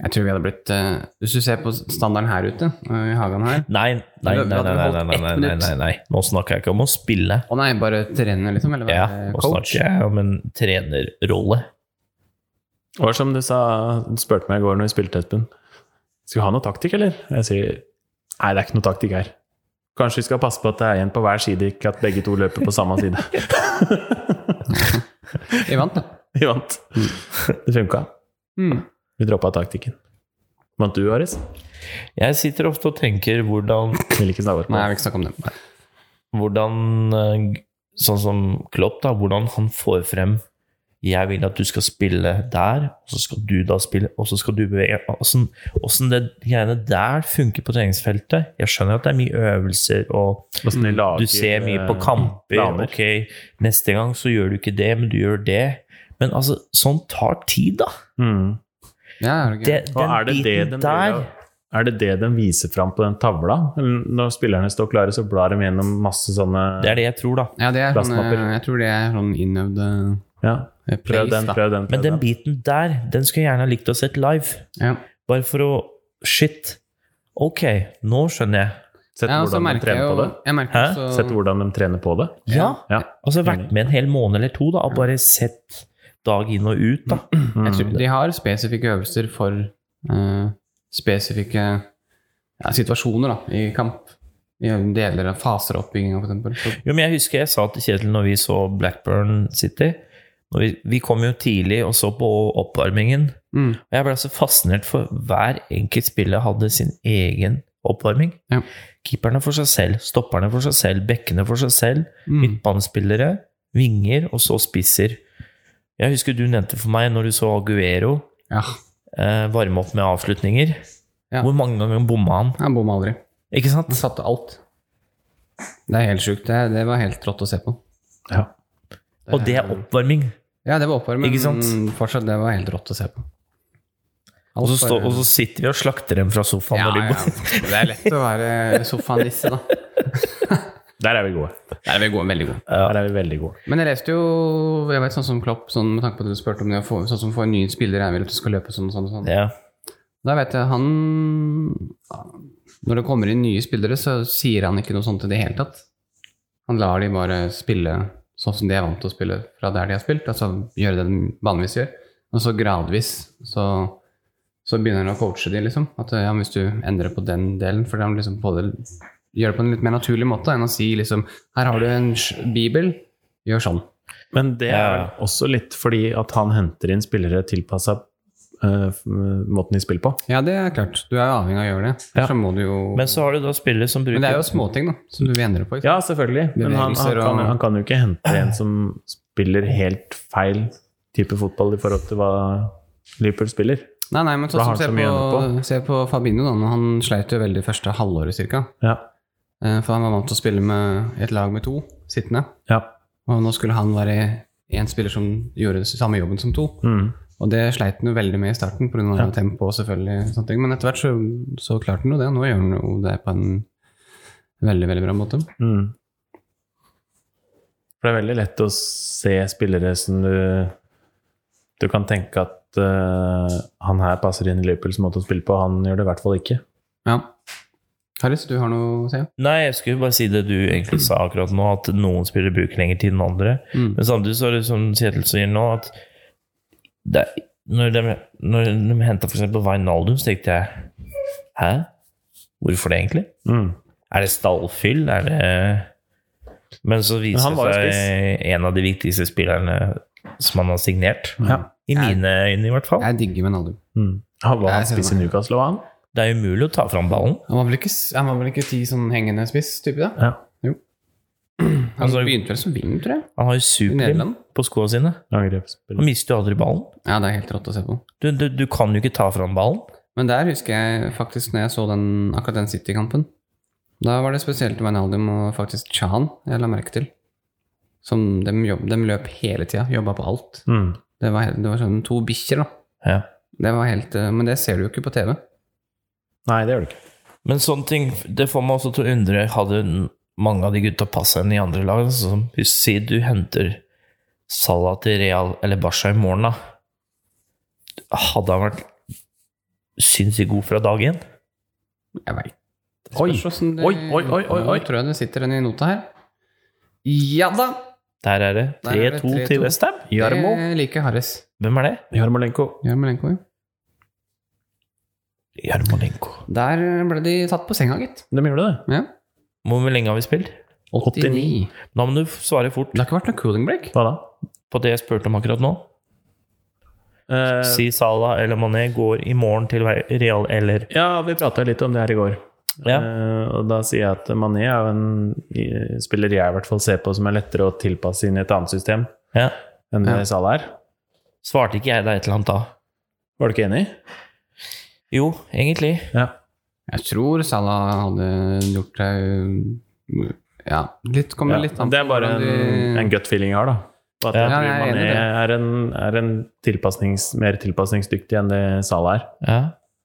C: Jeg tror vi hadde blitt eh, Hvis du ser på standarden her ute, eh, i hagen her
B: Nei, nei, nei,
C: Men
B: nei,
C: da- da
B: nei,
C: hadde
B: nei,
C: vi
B: nei,
C: holdt ett
B: nei, nei,
C: minutt.
B: nei, nei. Nå snakker jeg ikke om å spille.
C: Å nei, bare trene, liksom? Eller
B: Ja,
C: være
B: nå
C: coach?
B: snakker jeg om en trenerrolle.
A: Det var som du sa, du spurte meg i går når vi spilte, Espen. Skal vi ha noe taktikk, eller? Jeg sier nei, det er ikke noe taktikk her. Kanskje vi skal passe på at det er en på hver side, ikke at begge to løper på samme side.
C: Vi vant, da.
A: (laughs) Vi vant. Mm. Det funka.
C: Mm.
A: Vi droppa taktikken. Vant du, Aris?
B: Jeg sitter ofte og tenker hvordan,
A: Vil ikke snakke om
C: Nei, jeg
A: det.
C: vil ikke snakke om det. Nei.
B: hvordan eh, Sånn som Klopp, da. Hvordan han får frem Jeg vil at du skal spille der, og så skal du da spille, og så skal du bevege Åssen åssen det greiene der funker på treningsfeltet. Jeg skjønner at det er mye øvelser og
A: Hvordan de lager,
B: Du ser mye på
A: eh,
B: kamper.
A: planer.
B: Ok, neste gang så gjør du ikke det, men du gjør det. Men altså, sånt tar tid, da.
A: Mm.
C: Ja, er det,
B: Det,
C: gøy?
A: Og
B: den
A: er det det,
B: biten
A: de
B: der
A: driver- er det det de viser fram på den tavla? Eller Når spillerne står klare, så blar de gjennom masse sånne
B: Det er det jeg tror, da.
C: ja, det er sånn,
A: Plastpapir.
C: eh, jeg tror det er sånn innøvde
A: ja.
C: eh,
A: Prøv
C: plays,
A: den,
C: da.
A: prøv den. Prøv
B: Men den
A: den.
B: biten der, den skulle jeg gjerne ha likt å sett live.
C: Ja.
B: Bare for å Shit. Ok, nå skjønner jeg.
A: Sett
C: Ja, og så
A: hvordan de
C: merker jeg
A: trener på
C: jo
A: det.
C: jeg merker
B: Hæ?
C: også-
A: Sett hvordan de trener på det.
B: Ja.
A: Ja.
B: Altså vært med en hel måned eller to da, og bare sett dag inn og ut,
A: Mm.
B: da.
C: Jeg tror, de har spesifikke øvelser for eh, spesifikke ja, situasjoner da, i kamp. I deler av faser av oppbygginga, f.eks.
B: Jo, men jeg husker jeg sa til Kjetil når vi så Blackburn City når vi, vi kom jo tidlig og så på oppvarmingen.
C: Mm.
B: Og jeg ble så fascinert, for hver enkelt spiller hadde sin egen oppvarming.
C: Ja.
B: Keeperne for seg selv, stopperne for seg selv, bekkene for seg selv,
C: Mm.
B: midtbanespillere, vinger, og så spisser. Jeg husker du nevnte for meg, når du så Aguero
C: Ja.
B: eh, varme opp med avslutninger,
C: Ja.
B: hvor mange ganger bomma han?
C: Han bomma aldri.
B: Ikke sant?
C: Han satte alt. Det er helt sjukt. Det, det var helt rått å se på.
A: Ja.
B: Og det er oppvarming.
C: Ja, det var oppvarming,
B: Ikke sant?
C: men fortsatt, det var helt rått å se på.
B: Og så,
C: Alt
B: stå,
C: bare-
B: og så sitter vi og slakter dem fra sofaen.
C: ja,
B: når de
C: ja. Det er lett å være sofanisse, da.
A: Der er vi gode.
C: Der er vi gode, veldig gode.
A: Der er vi veldig gode.
C: Men jeg leste jo jeg vet, sånn som Klopp, sånn, med tanke på at du spurte om det å få, sånn som for en ny spiller jeg vil at du skal løpe sånn og sånn. Og sånn.
B: Ja.
C: Da vet jeg han Når det kommer inn nye spillere, så sier han ikke noe sånt i det hele tatt. Han lar de bare spille sånn som de er vant til å spille fra der de har spilt, altså gjøre det de vanligvis gjør. Og så gradvis så, så begynner han å coache de, liksom. At ja, hvis du endrer på den delen, for han liksom både gjør det på en litt mer naturlig måte enn å si liksom Her har du en sj- bibel, gjør sånn.
A: Men det er
B: Ja.
A: vel også litt fordi at han henter inn spillere tilpassa måten de spiller på.
C: Ja, det er klart. Du er jo avhengig av å gjøre det.
A: Ja.
C: Så må du jo
B: Men så har du da spillere som bruker
C: Men det er jo småting, da, som du vil endre på. Ikke?
A: Ja, selvfølgelig. Men han, han,
C: Bevegelser og-
A: kan, han kan jo ikke hente en som spiller helt feil type fotball i forhold til hva Liverpool spiller.
C: Nei, nei, men
A: Da
C: sånn
A: har
C: som se
A: han så mye å
C: på,
A: gjøre
C: se på Fabinho, da. når Han sleit jo veldig første halvåret, cirka.
A: Ja.
C: Eh, For han var vant til å spille med et lag med to sittende.
A: ja.
C: Og nå skulle han være én spiller som gjorde samme jobben som to.
A: Mm.
C: Og det sleit han jo veldig med i starten, pga. Ja. tempo og selvfølgelig sånne ting. Men etter hvert så, så klarte han jo det. Nå gjør han jo det på en veldig, veldig bra måte.
A: Mm. For det er veldig lett å se spillere som du Du kan tenke at eh, han her passer inn i Liverpools måte å spille på, han gjør det i hvert fall ikke.
C: Ja. Harris, du har noe å si?
B: Nei, jeg skulle bare si det du egentlig sa akkurat nå, at noen spillere bruker lengre tid enn andre.
C: Mm.
B: Men samtidig så er det som Kjetil sier nå, at det, er- når de, når de henta f.eks. Wijnaldum, så tenkte jeg Hæ? Hvorfor det, egentlig?
A: Mm.
B: Er det stallfyll? Er det Men så
A: Men
B: viser
A: han
B: det
A: var jo
B: seg en av de viktigste spillerne som han har signert.
A: Ja.
B: I mine øyne, i hvert fall.
C: Jeg digger Menaldum.
A: Mm. Han var
C: Jeg ser
A: spiss i Newcastle, var han?
B: Det er umulig å ta fram ballen.
C: Han var vel ikke, s- han var vel ikke ti sånn hengende spiss-type, da?
A: Ja.
C: Han
B: Altså-
C: begynte vel som wing, tror jeg.
B: Han har jo
C: I
B: superlim
C: Nederland.
B: på skoa sine. Han
A: Angrepsspiller.
B: mister jo aldri ballen.
C: Ja, det er helt rått å se på.
B: Du, du, du kan jo ikke ta fram ballen.
C: Men der husker jeg faktisk når jeg så den, akkurat den City-kampen. Da var det spesielt Wijnaldum og faktisk Chan jeg la merke til. Som de, jobb, de løp hele tida, jobba på alt.
A: Mm.
C: Det var, helt- det var sånn to bikkjer, da.
B: Ja.
C: Det var helt, eh, men det ser du jo ikke på TV.
A: Nei, det gjør det ikke.
B: Men sånne ting, det får meg også til å undre Hadde mange av de gutta passa enn i andre lag? altså, Som, si du henter Salah til Real eller Barca i morgen, da. Hadde han vært sinnssykt god fra dag én.
C: Jeg veit.
A: Oi, oi, oi, oi, oi, oi.
C: Nå tror jeg det sitter en i nota her. Ja da!
B: Der er det
C: Der er det
B: 3-2 til
C: 3-2.
B: Westham.
A: Jarmo.
C: Jeg liker Harris.
B: Hvem er det?
A: Jarmolenko.
C: Jarmolenko, ja.
B: Jarmolenko.
C: Der ble de tatt på senga, gitt.
A: De gjorde det.
C: Ja.
B: Hvor lenge har vi spilt?
A: 89.
B: Da må du svare fort
C: Det har ikke vært noe cooling break.
A: Hva da?
B: på det jeg spurte om akkurat nå.
A: Eh,
B: Si Salah eller Mané går i morgen til Real eller
A: ja, vi prata litt om det her i går.
B: Ja.
A: Eh, og da sier jeg at Mané er jo en spiller jeg i hvert fall ser på som er lettere å tilpasse inn i et annet system
B: ja.
A: enn det
C: Ja.
A: Salah er.
B: Svarte ikke jeg deg et eller annet da?
A: Var du ikke enig?
B: Jo, egentlig.
A: Ja.
C: Jeg tror Salah hadde gjort seg um, Ja, litt kommer
A: Ja,
C: litt an på
A: det er bare
C: hvordan
A: en, en gut feeling jeg har, da. Og At
B: Ja.
A: jeg tror
C: Ja, jeg er enig i
A: Mané
C: det.
A: er en, er en tilpasnings, mer tilpasningsdyktig enn det Salah er.
B: Ja.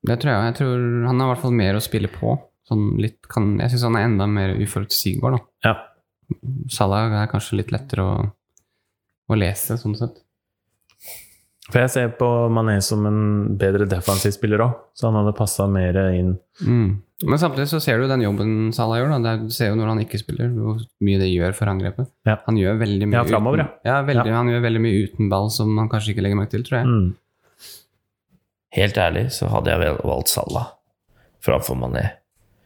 C: Det tror jeg. jeg tror Han har i hvert fall mer å spille på. Sånn litt kan, jeg syns han er enda mer uforutsigbar, da.
A: Ja.
C: Salah er kanskje litt lettere å, å lese, sånn sett.
A: For jeg ser på Mané som en bedre defensiv spiller òg, så han hadde passa mer inn.
C: Mm. Men samtidig så ser du den jobben Salah gjør. Da. Det er- Du ser jo når han ikke spiller, hvor mye det gjør for angrepet.
A: Ja.
C: Han gjør veldig mye
A: Ja, fremover,
C: uten, ja. veldig, Han gjør veldig mye uten ball som han kanskje ikke legger merke til, tror jeg.
A: Mm.
B: Helt ærlig så hadde jeg vel valgt Salah framfor Mané.
A: Mm.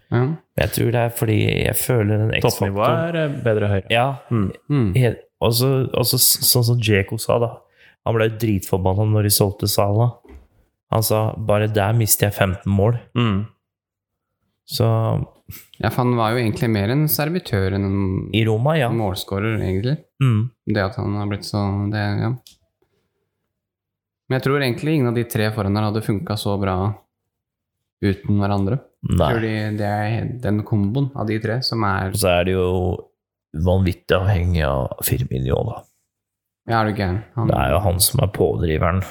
C: Ja.
B: Men jeg tror det er fordi jeg føler den X-faktoren
A: Toppnivået er eh, bedre høyere.
B: Ja.
A: Mm.
C: Mm.
B: helt- Og så og så- sånn som Djeko sa, da. Han ble jo dritforbanna når de solgte Salah. Han sa 'bare der mister jeg 15 mål'.
A: Mm.
B: Så
C: ja, for han var jo egentlig mer en servitør enn en
B: i Roma, ja.
C: Mm. målskårer, egentlig.
B: Mm.
C: Det at han har blitt så det, ja. Men jeg tror egentlig ingen av de tre foran der hadde funka så bra uten hverandre. Jeg tror
B: Nei.
C: de, det er den komboen av de tre som er
B: Og så er det jo vanvittig avhengig av Firmino, da.
C: Ja, er du gæren? Han-
B: Det er jo han som er pådriveren.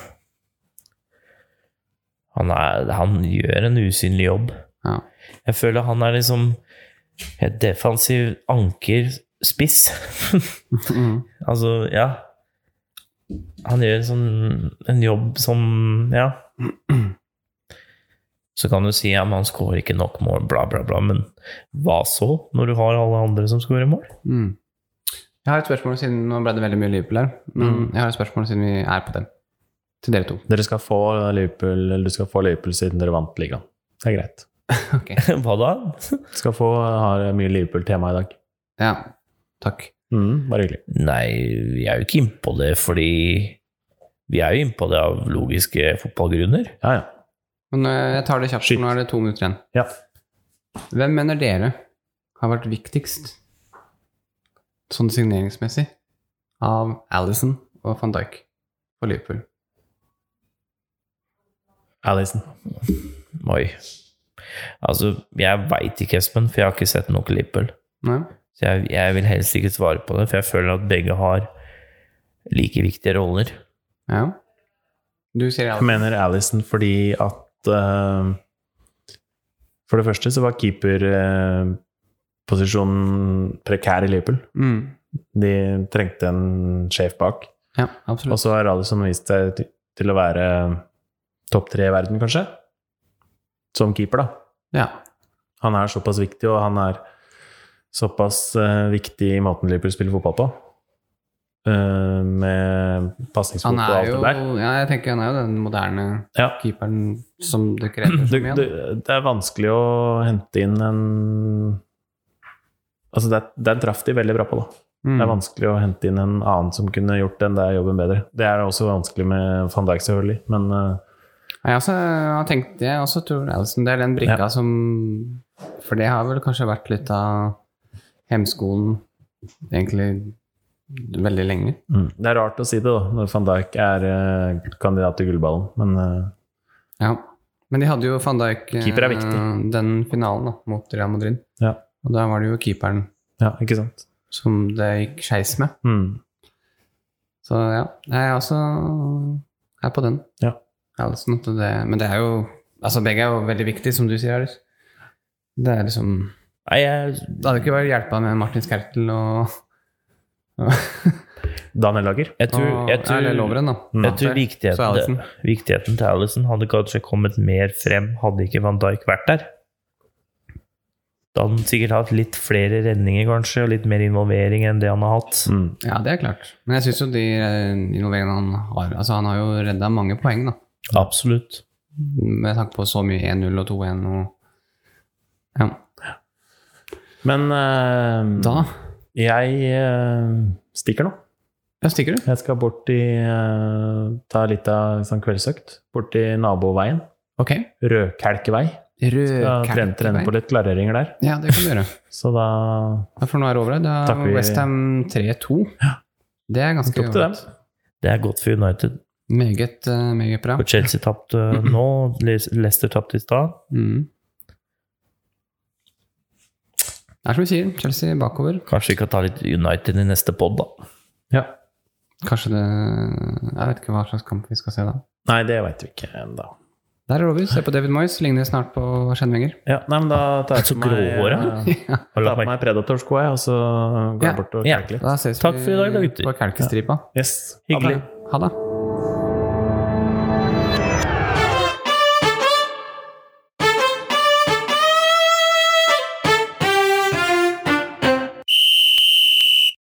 B: Han, er, han gjør en usynlig jobb.
C: Ja.
B: Jeg føler han er liksom et defensiv ankerspiss.
C: (laughs) Mm.
B: (laughs) altså, ja Han gjør en, sånn, en jobb som Ja. Så kan du si ja, men han skårer ikke nok mål, bla, bla, bla. Men hva så, når du har alle andre som skårer mål? (laughs)
C: Mm. Jeg har et spørsmål siden Nå ble det veldig mye Liverpool her. Men
B: Mm.
C: jeg har et spørsmål siden vi er på den. Til dere to.
A: Dere skal få Liverpool, eller du skal få Liverpool siden dere vant ligaen. Det er greit.
B: Hva da?
A: Skal få eh, ha mye Liverpool-tema i dag.
C: Ja, takk.
A: Mm, bare hyggelig.
B: Nei, vi er jo ikke innpå det fordi Vi er jo innpå det av logiske fotballgrunner.
A: Ja, ja.
C: Men øh, jeg tar det kjapt,
A: Skyt.
C: for nå er det to minutter igjen.
A: Ja.
C: Hvem mener dere har vært viktigst sånn signeringsmessig av Alison og van Dijk for Liverpool?
A: Alison.
B: Oi. Altså, jeg veit ikke, Espen, for jeg har ikke sett nok Liverpool.
C: Nei?
B: Så jeg, jeg vil helst ikke svare på det, for jeg føler at begge har like viktige roller.
C: Ja. Du sier
A: Jeg
C: Alison.
A: mener Alison fordi at eh, For det første så var keeperposisjonen prekær i Liverpool.
C: Mm.
A: De trengte en sjef bak.
C: Ja,
A: Og
C: absolutt.
A: så har Alison vist seg til- til å være eh, topp tre i verden, kanskje. Som keeper, da.
C: Ja.
A: Han er såpass viktig, og han er såpass eh, viktig i måten Liverpool spiller fotball på. Eh, med pasningsfot
C: Han
A: og
C: er
A: alt
C: jo
A: det der.
C: Ja, jeg tenker han er jo den moderne
A: Ja.
C: keeperen som det krever
A: Du,
C: så mye
A: du,
C: av.
A: det er vanskelig å hente inn en Altså, der, der traff de veldig bra på, da. Det er
C: Mm.
A: vanskelig å hente inn en annen som kunne gjort den der jobben bedre. Det er også vanskelig med van Dijk, selvfølgelig, men eh,
C: altså, Jeg også har tenkt det. Jeg også tror Alison det er den brikka som For det har vel kanskje vært litt av hemskoen egentlig veldig lenge.
A: mm. det er rart å si det, da, når van Dijk er eh, kandidat til gullballen, men eh,
C: Ja. Men de hadde jo van Dijk eh,
A: Keeper er viktig.
C: den finalen da, mot Real Madrid.
A: Ja.
C: Og da var det jo keeperen
A: ja, ikke sant?
C: som det gikk skeis med.
A: Mm.
C: Så ja, jeg er også er på den.
A: Ja.
C: Alison, at det, men det er jo Altså, begge er jo veldig viktige, som du sier, Alice. Det er liksom
B: Nei, jeg,
C: Det hadde ikke vært hjelpa med Martin Skertel og
A: Daniel Lager.
B: Jeg tror,
C: Ah,
B: jeg tror,
C: Eller Lovren, da.
B: jeg tror
C: Så Alisson.
B: viktigheten, viktigheten til Alison hadde kanskje kommet mer frem hadde ikke Van Dijk vært der. Da hadde han sikkert hatt litt flere redninger, kanskje, og litt mer involvering enn det han har hatt.
A: Mm.
C: Ja, det er klart. Men jeg syns jo de eh, involveringene han har Altså, han har jo redda mange poeng, da.
B: Absolutt.
C: Med tanke på så mye 1-0 og 2-1 og Ja.
A: Men eh,
C: Da
A: jeg eh, stikker nå.
C: ja, stikker du.
A: Jeg skal bort i eh, Ta litt av sånn kveldsøkt. Bort i naboveien.
C: Ok.
A: Rødkelkevei. Skal trene, trene på litt klareringer der.
C: Ja, det kan du gjøre.
A: Så da
C: Ja, For nå er det over. Da
A: Takk, vi-
C: Westham 3-2. Det er ganske
A: tok til dem.
C: ålreit.
B: Det er godt for United.
C: Meget, eh, meget bra.
B: Og Chelsea tapte nå, Le- Leicester tapte i stad.
C: Mm. Det er som vi sier, Chelsea bakover.
B: Kanskje vi kan ta litt United i neste pod, da.
A: Ja.
C: Kanskje det Jeg vet ikke hva slags kamp vi skal se da.
A: Nei, det veit vi ikke ennå.
C: Der er det over. Se på David Moyes. Ligner snart på (laughs) Schenwenger.
A: Ja, nei, men da tar jeg
B: Så
A: på meg,
B: gråhåra.
A: eh,
B: Har du
A: tar på
B: lagt merke-
A: meg Predator-skoa, jeg, og så går
C: Ja.
A: jeg bort og
B: Ja.
A: klekker litt.
C: Da ses
B: Takk for i dag, da, gutter.
C: på Kalkestripa.
A: Yes.
B: Hyggelig.
C: Ha det.